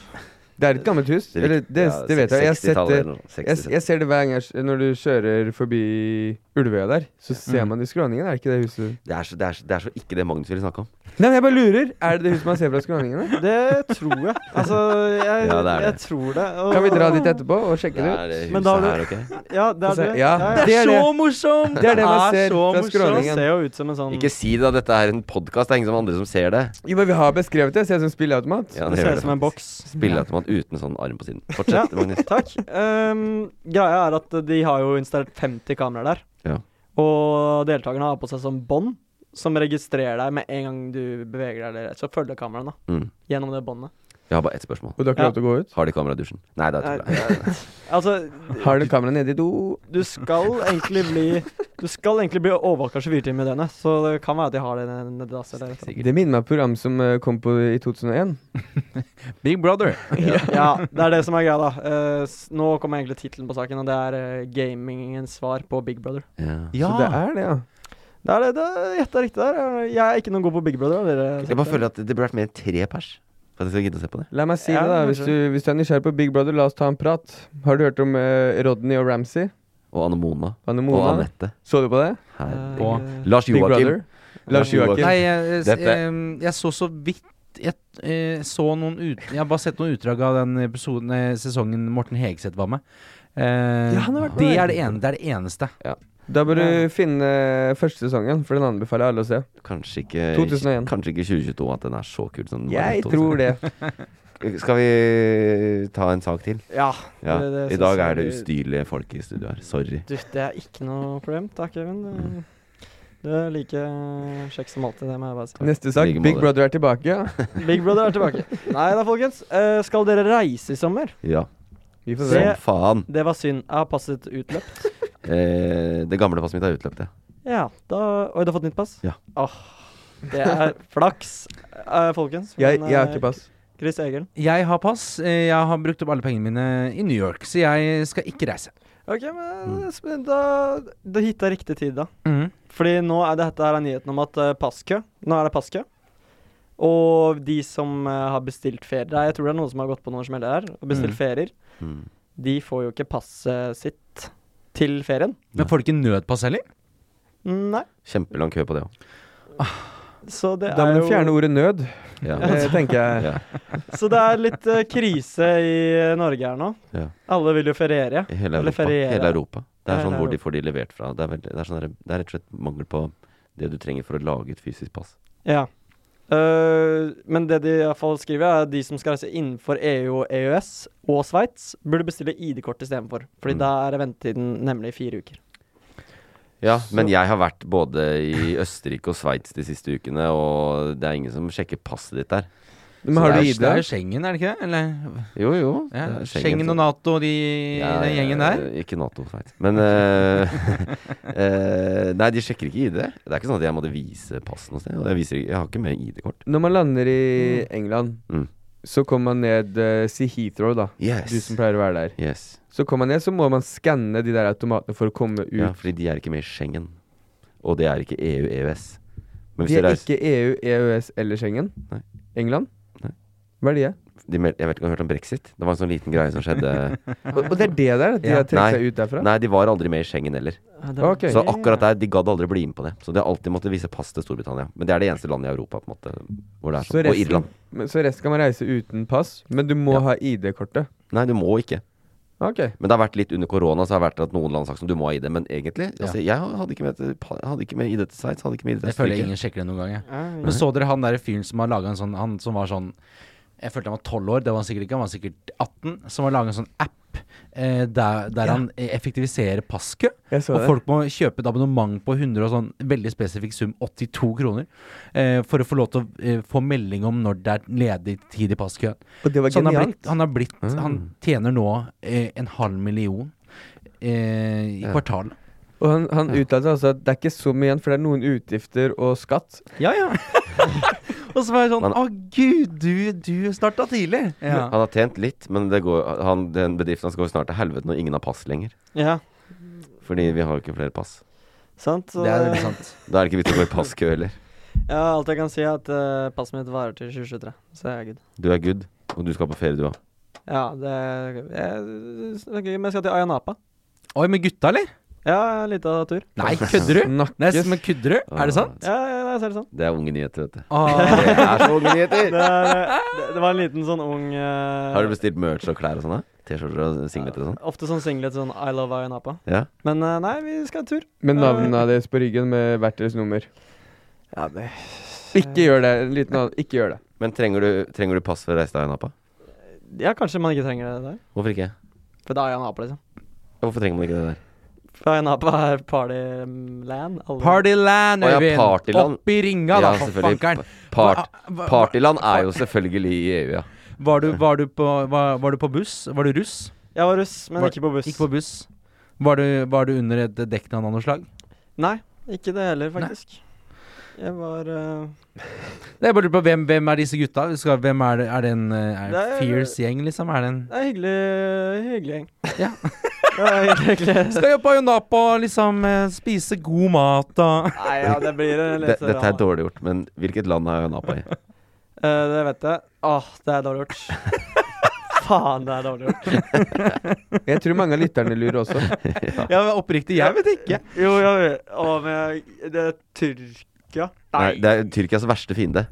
S1: Det er et gammelt hus.
S2: er
S1: Eller,
S2: viktig-
S1: det,
S2: ja,
S1: det vet jeg. Jeg har sett
S2: 60-tallet
S1: det
S2: eller noe,
S1: jeg,
S2: 60-tallet.
S1: jeg ser det hver gang jeg, s- når du kjører forbi Ulvøya der, så ser
S3: Mm.
S1: man i skråningen. Er det ikke det huset?
S2: Det er, så, det, er, så- det er så ikke det Magnus ville snakke om.
S1: Nei, men jeg bare lurer. Er det det huset man ser fra skråningene?
S5: Det tror jeg. Altså, jeg,
S2: Ja, det er
S5: jeg
S2: det.
S5: tror det. Og-
S1: Kan vi dra dit etterpå og sjekke
S2: Det
S1: det ut?
S2: er det
S5: Men
S2: huset
S5: da har
S2: her, ok?
S5: Ja, det
S1: Få
S5: er
S1: se.
S5: det.
S1: Ja,
S3: Det
S1: Det er
S3: er
S1: det.
S3: så morsomt!
S1: Det er det man ser
S3: så
S1: fra
S3: morsomt.
S5: Det
S1: skråningen.
S5: ser jo ut som en sånn
S2: Ikke si det, dette er en podkast. Det er ingen som andre som ser det.
S1: Jo, men vi har beskrevet det. Ser ut som spilleautomat.
S2: Ja,
S5: Det
S2: gjør
S5: ser ut som en
S2: faktisk.
S5: boks.
S2: Spilleautomat uten sånn arm på siden. Fortsett, Magnus.
S5: Takk. Ehm, greia er at de har jo installert 50 kameraer der.
S2: Ja.
S5: Og deltakerne har på seg sånn bånd som registrerer deg med en gang du beveger deg. Eller, så følger kameraene
S2: Mm.
S5: gjennom det båndet.
S2: Jeg har bare ett spørsmål.
S1: Og du har ikke
S5: Ja.
S1: lov til å gå ut?
S2: Har de kamera i dusjen? Nei, det er tull.
S5: Nei, altså,
S1: Har du kamera nede i do?
S5: du skal egentlig bli Du skal egentlig bli overvåka 24 timer i døgnet, så det kan være at de har det nede nede i dass eller et eller
S1: Det minner meg om et program som eh, kom på i 2001.
S3: Big Brother.
S5: annet. Ja, det er det som er greia, da. Eh, s- nå kommer egentlig tittelen på saken, og det er eh, gamingens svar på Big Brother.
S2: Ja.
S3: Ja.
S1: Så
S5: Ah.
S1: det er det, ja.
S5: Det er det, det er gjetta riktig der. Jeg er ikke noen god på Big Brother. har Dere
S2: Jeg bare føler at det burde vært mer enn tre pers. For at jeg skal gidde å se på det.
S1: La meg si
S5: Ja,
S1: det, da. Hvis
S5: kanskje.
S1: du, hvis du er nysgjerrig på Big Brother, la oss ta en prat. Har du hørt om eh, Rodney og Ramsay?
S2: Og Anne Mona.
S1: Anne
S2: Og
S1: Mona?
S2: Anette.
S1: Så du på det?
S2: Herregud.
S3: Og
S5: Eh,
S2: Lars
S1: Big
S2: Joakim.
S1: Brother? Lars Joakim.
S3: Nei, jeg,
S2: Dette-
S3: jeg, jeg så så vidt jeg, eh, så noen ut, jeg har bare sett noen utdrag av den episoden, eh, sesongen Morten Hegseth var med. Eh,
S1: Ja, han har vært med
S3: det,
S1: der.
S3: er det, ene, det er det eneste.
S1: Da bør du finne eh, første sesongen, for den anbefaler jeg alle å se.
S2: Kanskje ikke,
S1: 2001.
S2: kanskje ikke 2022 at den er så kul som den var i
S1: Jeg tror det.
S2: 2001. Skal vi ta en sak til?
S5: Ja.
S2: Ja.
S5: Det- det
S2: I
S5: synes
S2: dag
S5: jeg
S2: er det
S5: vi-
S2: ustyrlige folk i studio her. Sorry.
S5: Du, det er ikke noe problem. Takk, Even. Det- Du er like kjekk som alltid, det må jeg bare si.
S1: Neste sak.
S2: Like
S1: Big
S2: måte.
S1: Brother er tilbake. ja.
S5: Big Brother er tilbake. Nei da, folkens. Eh, skal dere reise i sommer?
S2: Ja,
S1: Vi får
S2: som
S1: se.
S2: faen.
S5: Det var synd. Jeg har passet utløp.
S2: Eh, det gamle passet mitt er utløpt, ja.
S5: Ja, da Oi, du har fått nytt pass?
S2: Ja.
S5: Åh, det er flaks, eh, folkens.
S1: Jeg,
S5: Men,
S1: jeg har
S5: eh,
S1: ikke pass.
S5: Chris Egil.
S3: Jeg har pass. eh, Jeg har brukt opp alle pengene mine i New York, så jeg skal ikke reise.
S5: Ok,
S1: Mm.
S5: men sp- da Du hitta riktig tid, da.
S2: Mhm.
S5: Fordi nå er dette her er nyheten om at eh, passkø. Nå er det passkø. Og de som eh, har bestilt ferier Nei, jeg tror det er noen som har gått på noen smeller her og bestilt
S3: Mm.
S5: ferier.
S2: Mm.
S5: De får jo ikke passet sitt til ferien.
S3: Men får du ikke nødpass heller?
S5: Nei,
S2: Kjempelang kø på det òg.
S5: så det
S1: Da
S5: er
S1: må du
S5: jo
S1: fjerne ordet nød,
S2: Ja.
S1: eh, tenker jeg.
S2: Ja.
S5: Så det er litt eh, krise i eh, Norge her nå.
S2: Ja.
S5: Alle vil jo feriere.
S2: I Hele
S5: Eller
S2: Europa.
S5: feriere.
S2: Hele Europa. Det er
S5: Hele
S2: sånn hvor de får de levert fra. Det er, veldig, det, er sånn der, det er rett og slett mangel på det du trenger for å lage et fysisk pass.
S5: Ja. Eh, men det de i hvert fall skriver, er at de som skal reise innenfor EU og EØS og Sveits, burde bestille ID-kort istedenfor. Fordi
S2: Mm.
S5: da er ventetiden nemlig fire uker.
S2: Ja,
S5: Så-
S2: men jeg har vært både i Østerrike og Sveits de siste ukene, og det er ingen som sjekker passet ditt der.
S1: Men har
S2: Så
S1: du
S2: det
S1: ID?
S3: Det er jo Schengen, er det ikke det? Eller,
S2: Jo, jo.
S3: ja.
S2: det er
S3: Schengen og Nato og de,
S2: Ja,
S3: den gjengen
S2: ja,
S3: der.
S2: Ikke Nato, Sveits. Men eh, eh, Nei, de sjekker ikke ID. Det er ikke sånn at jeg måtte vise pass noe sted. og Jeg, viser, ikke- jeg har ikke med ID-kort.
S1: Når man lander i England,
S2: Mm.
S1: så kommer man ned eh, Si Heathrow, da.
S2: Yes.
S1: Du som pleier å være der.
S2: yes.
S1: Så kommer man ned, så må man skanne de der automatene for å komme ut.
S2: Ja, fordi de er ikke med i Schengen. Og det er ikke E EU-EØS. Men hvis
S1: de
S2: du
S1: er
S2: reiser
S1: ikke E EU, EØS eller Schengen.
S2: Nei.
S1: England?
S2: Nei.
S1: Hva er de?
S2: de, mel- Jeg vet ikke om du har hørt om brexit? Det var en sånn liten greie som skjedde.
S1: Og, og det er det der? De
S2: Ja.
S1: har trukket
S2: Nei.
S1: seg ut derfra?
S2: Nei, de var aldri med i Schengen heller.
S1: Ok.
S2: Så akkurat der, de gadd aldri bli med på det. Så de har alltid måttet vise pass til Storbritannia. Men det er det eneste landet i Europa på en måte hvor det er
S1: Så
S2: sånn. Og
S1: resten-
S2: Irland.
S1: Men, så resten kan man reise uten pass, men du må
S2: Ja.
S1: ha ID-kortet.
S2: Nei, du må ikke.
S1: Ok.
S2: Men det har vært litt under korona, så har det vært at noen land har sagt som du må ha ID. Men egentlig, altså, jeg hadde ikke med, hadde ikke med ID til Sveits, hadde ikke med ID til
S3: Jeg føler
S2: Østerrike.
S3: ingen sjekker det noen gang. Jeg.
S5: Ja,
S3: Men så dere han der fyren som har laget en sånn Han som var sånn Jeg følte han var 12 år, det var han sikkert ikke, han var sikkert 18 Som har laget en sånn app eh, Der, der han eh, effektiviserer passkø
S1: Jeg så
S3: Og
S1: det.
S3: folk må kjøpe et abonnement på 100 og sånn Veldig spesifikk sum, 82 kroner eh, For å få lov til å eh, få melding om Når det er ledig tid i passkø
S1: Og det var
S3: Så han har
S1: genialt.
S3: blitt, han, har blitt han tjener nå eh, en halv million eh, I
S2: Ja.
S3: kvartalet
S1: Og han, han uttalte altså at det er ikke så mye igjen, for det er noen utgifter og skatt.
S3: Ja, ja Og så var jeg sånn,
S2: Men-
S3: å gud, du, du starta tidlig ja.
S2: Han har tjent litt, men det går, han, den bedriften hans går snart til helvete når ingen har pass lenger.
S5: ja,
S2: Fordi vi har jo ikke flere pass.
S5: sant. Så,
S3: Det er
S5: eh,
S3: veldig sant.
S2: Da er det ikke vits å gå i passkø heller.
S5: ja, alt jeg kan si, er at eh, passet mitt varer til 2023. Så jeg er good.
S2: Du er good, og du skal på ferie, du òg.
S5: Ja, det jeg, ok, Men jeg skal til Ayanapa.
S3: Oi, med gutta, eller?
S5: Ja, en liten tur.
S3: Nei, kødder du?
S1: Snakkes.
S3: Nei, men kødder du? Er det sant?
S5: Ja, ja, nei,
S7: jeg ser det sånn.
S2: Det er unge nyheter, vet du.
S3: Ah,
S2: Det er så unge
S7: Det,
S2: nyheter!
S7: er, eh, det, det var en liten sånn ung eh,
S2: Har du bestilt merch og klær og sånn? da? T-skjorter og singleter og sånn?
S7: Ofte sånn singlet sånn I love Ayanapa.
S2: Ja.
S7: Men eh, nei, vi skal en tur.
S1: Med navnene deres på ryggen med hvert deres nummer.
S7: Ja, det
S1: Ikke gjør det. En liten annen. Ikke gjør det.
S2: Men trenger du, trenger du pass for å reise til Ayanapa?
S7: Ja, kanskje man ikke trenger det der.
S2: Hvorfor ikke?
S7: For det er Ayanapa, liksom.
S2: Hvorfor trenger man ikke det der?
S7: For Ayanapa er partyland. Alle-
S3: Partyland,
S2: Å ja,
S3: Øyvind!
S2: partyland.
S3: Opp i ringa, da,
S2: Ja,
S3: for
S2: selvfølgelig.
S3: fankeren!
S2: Part,
S3: Hva- hva-
S2: partyland er jo selvfølgelig i EU, ja.
S3: Var du, var, du på, var, var du på buss? Var du russ?
S7: Jeg var russ, men
S3: Var-
S7: ikke på buss.
S3: Ikke på buss. Var du, var du under et dekknavn av noe slag?
S7: Nei, ikke det heller,
S3: Nei.
S7: faktisk. Jeg var eh,
S3: Nei, Jeg bare lurer på hvem, hvem er disse gutta? Skal, hvem er det, er det en eh, er det en
S7: Det er-
S3: fierce gjeng, liksom? Er det en
S7: Det er hyggelig, hyggelig gjeng.
S3: Ja.
S7: det var hyggelig, hyggelig.
S3: Skal jo på Ayanapa liksom eh, spise god mat og
S7: Nei, ja, det blir en
S2: Det,
S7: litt
S2: dette er dårlig gjort, men hvilket land er Ayanapa i?
S7: Eh, det vet jeg. Åh, det er dårlig gjort. Faen, det er dårlig gjort.
S1: Jeg tror mange av lytterne lurer også.
S3: Ja, men oppriktig, jeg vet ikke.
S7: Jo, jeg vet Å, men jeg Det er Tyrkia. Nei,
S2: Nei, det er Tyrkias verste fiende.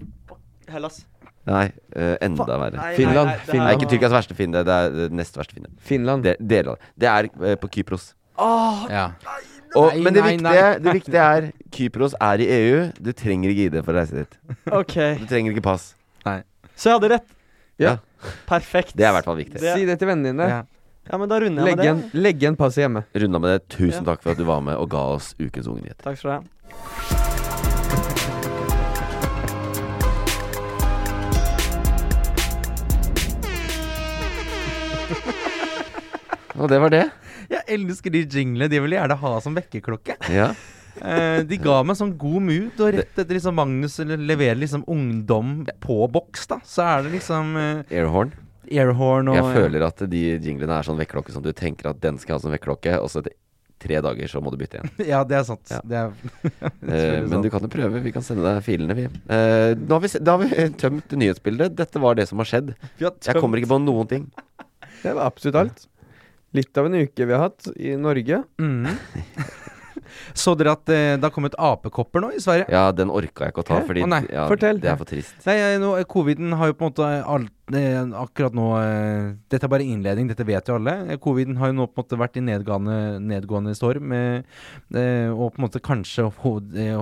S7: Hellas.
S2: Nei, eh, enda
S7: Fa-
S2: verre.
S7: nei,
S1: Finland,
S7: nei, det her
S1: Finland.
S2: Nei, ikke
S7: var-
S2: Tyrkias verste fiende, det er det nest verste fiende.
S1: Finland.
S2: Det, deler av det. Det er eh, på Kypros.
S7: Åh,
S3: Ja.
S2: Og,
S3: Nei,
S2: men det
S3: nei,
S2: viktige, det viktige er Kypros er i EU. Du trenger ikke ID for å reise dit.
S7: OK.
S2: Du trenger ikke pass.
S7: Så jeg hadde rett.
S2: Ja.
S7: Perfekt.
S2: Det er i hvert fall viktig.
S7: det-
S1: Si det til vennene dine.
S3: Ja.
S7: Ja, men da runder jeg
S1: Legg, igjen,
S7: med det.
S1: legg igjen passet hjemme.
S2: Runda med det. Tusen
S7: Ja.
S2: takk for at du var med og ga oss ukens unge nyheter.
S7: Takk skal du ha.
S2: Og det var det.
S3: Jeg elsker de jinglene. De vil jeg gjerne ha som vekkerklokke.
S2: Ja.
S3: Eh, de ga meg sånn god mood, og rett etter liksom Magnus le- leverer liksom ungdom på boks, da, så er det liksom eh,
S2: Airhorn.
S3: airhorn og
S2: Jeg føler at de jinglene er sånn vekkerklokke som du tenker at den skal jeg ha som vekkerklokke, og så etter tre dager så må du bytte igjen.
S3: Ja, det er sant.
S2: Ja.
S3: Det er,
S2: Eh, men du kan jo prøve. Vi kan sende deg filene, vi. Eh, nå har vi, se- da har vi eh, tømt nyhetsbildet. Dette var det som har skjedd. Jeg kommer ikke på noen ting.
S1: Det var absolutt alt. Litt av en uke vi har hatt i Norge.
S3: Mhm. Så dere at eh, det har kommet apekopper nå i Sverige?
S2: Ja, den orka jeg ikke å ta,
S3: Hæ?
S2: fordi
S3: Å, nei.
S2: ja,
S1: Fortell.
S2: det er for trist.
S3: Nei, jeg- nå, eh, Coviden har jo på en måte alt, eh, akkurat nå eh, Dette er bare innledning, dette vet jo alle. Eh, Coviden har jo nå på en måte vært i nedgående, nedgående storm. Eh, eh, og på en måte kanskje hoved, eh,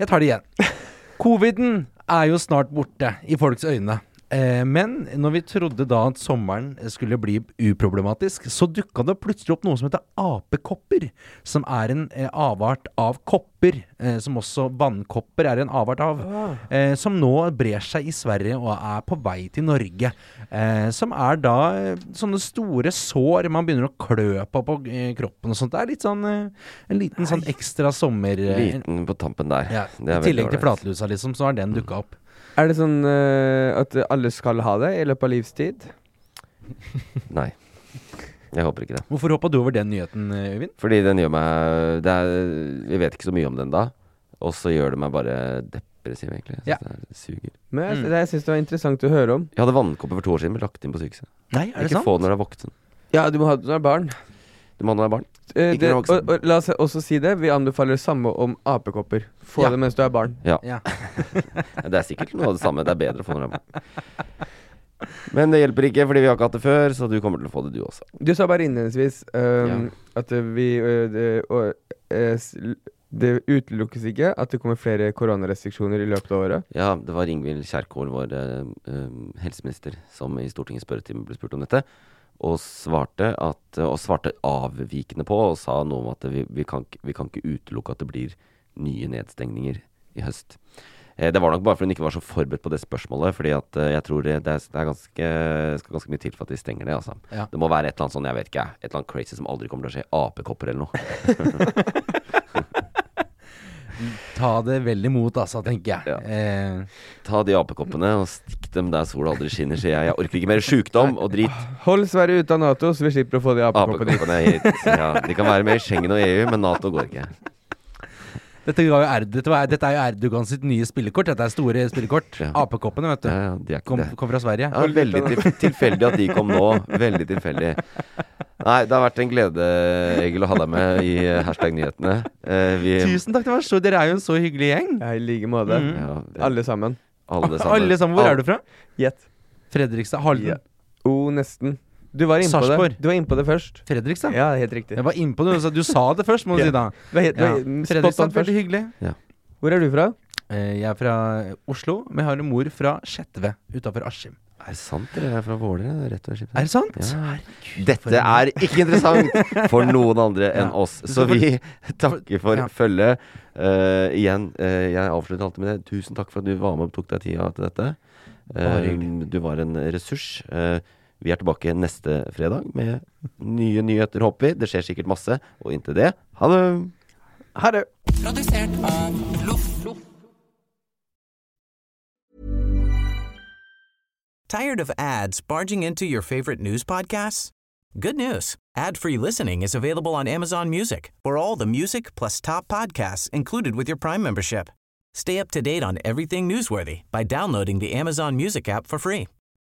S3: Jeg tar det igjen. Coviden er jo snart borte i folks øyne. Eh, men når vi trodde da at sommeren skulle bli uproblematisk, så dukka det plutselig opp noe som heter apekopper. Som er en eh, avart av kopper, eh, som også vannkopper er en avart av. Eh, som nå brer seg i Sverige og er på vei til Norge. Eh, som er da eh, sånne store sår man begynner å klø på på eh, kroppen og sånt. Det er litt sånn eh, en liten sånn ekstra sommer... eh,
S2: Liten på tampen der.
S3: ja,
S2: Det er
S3: I tillegg
S2: veldig
S3: til
S2: ålreit.
S3: flatlusa, liksom, så har den dukka opp.
S1: Er det sånn eh, at alle skal ha det i løpet av livstid?
S2: Nei. Jeg håper ikke det.
S3: Hvorfor hoppa du over den nyheten, eh, Øyvind?
S2: Fordi den gjør meg det er, Vi vet ikke så mye om den da. Og så gjør det meg bare depressiv, egentlig. Jeg, synes
S3: Ja.
S2: det er, det suger.
S1: Men jeg,
S3: Mm.
S1: det, jeg syns det var interessant å høre om.
S2: jeg hadde vannkopper for to år siden, ble lagt inn på sykehuset.
S3: Nei, er det
S2: Ikke
S3: sant?
S2: få når du er voksen.
S1: Ja, du må ha det når du er barn.
S2: Du må ha når du er barn.
S1: Eh,
S2: Ikke
S1: det,
S2: når
S1: og,
S2: du er voksen.
S1: og la oss også si det, vi anbefaler det samme om apekopper. Få
S3: Ja.
S1: det mens du er barn.
S3: Ja.
S2: Det er sikkert noe av det samme. Det er bedre å få når du er barn. Men det hjelper ikke, fordi vi har ikke hatt det før, så du kommer til å få det, du også.
S1: Du sa bare innledningsvis ehm, at eh, vi eh, det, og, eh, s- l- det utelukkes ikke at det kommer flere koronarestriksjoner i løpet av året.
S2: Ja, det var Ingvild Kjerkol, vår eh, eh, helseminister, som i Stortingets spørretime ble spurt om dette. Og svarte, at, eh, og svarte avvikende på og sa noe om at vi, vi, kan, ikke- vi kan ikke utelukke at det blir nye nedstengninger i høst. Eh, det var nok bare fordi hun ikke var så forberedt på det spørsmålet. fordi at eh, jeg tror det, det, er, det er ganske, skal ganske mye til for at de stenger det. altså.
S3: Ja.
S2: Det må være et eller annet sånn, jeg vet ikke, jeg, et eller annet crazy som aldri kommer til å skje. Apekopper eller noe.
S3: Ta det vel imot, altså, tenker jeg.
S2: Ja.
S3: Eh,
S2: Ta de apekoppene og stikk dem der sola aldri skinner, sier jeg. Jeg orker ikke mer sjukdom og drit.
S1: Hold Sverige ute av Nato, så vi slipper å få de apekoppene hit.
S2: Apekoppene hit. Ja, de kan være med i Schengen og EU, men Nato går ikke.
S3: dette, ga jo Erd, dette, var, dette er jo Erdogan sitt nye spillekort. Dette er store spillekort.
S2: Ja.
S3: Apekoppene, vet du.
S2: Ja, ja, de er ikke
S3: Kom,
S2: det.
S3: kom fra Sverige.
S2: Ja, veldig til, tilfeldig at de kom nå. Veldig tilfeldig. Nei, det har vært en glede, Egil, å ha deg med i eh, hashtag nyhetene. Eh, vi,
S3: Tusen takk, det var så, dere er jo en så hyggelig gjeng.
S1: Ja, I like måte.
S3: Mm.
S2: ja,
S1: Alle sammen.
S2: alle sammen.
S3: Alle sammen, Hvor er du fra?
S1: Gjett.
S3: Fredrikstad.
S1: Ja.
S3: Halden.
S1: O, nesten. Du var innpå
S3: Sarpsborg.
S1: det. Du var innpå det først.
S3: Fredrikstad?
S1: Ja, helt riktig.
S3: Jeg var innpå det, så du sa det først, må du
S1: Ja.
S3: si da.
S1: Du var helt- du
S3: Ja.
S1: var spot on
S3: Fredrikstad,
S1: først.
S3: veldig hyggelig.
S1: Hvor er du fra?
S3: Eh, Jeg er fra Oslo, men jeg har en mor fra Skjetve utafor Askim.
S2: Er det sant, eller? Jeg er fra Våler, rett ved skipet.
S3: Er det sant?
S2: Ja.
S3: Herregud, for
S2: Dette
S3: en-
S2: er ikke interessant for noen andre enn
S3: Ja.
S2: oss, så vi takker for
S3: Ja.
S2: følget. Eh, igjen, eh, jeg avslutter alltid med det. Tusen takk for at du var med og tok deg tida til dette.
S3: Bare
S2: Eh, du var en ressurs. Eh, vi er tilbake neste fredag med nye nyheter, håper vi. Det skjer sikkert masse. Og inntil det, ha det!
S7: Ha det.
S8: Produsert av Loff.
S6: Tired of ads barging into your favorite news podcasts? Good news. Ad-free listening is available on Amazon Music for all the music plus top podcasts included with your Prime membership. Stay up to date on everything newsworthy by downloading the Amazon Music app for free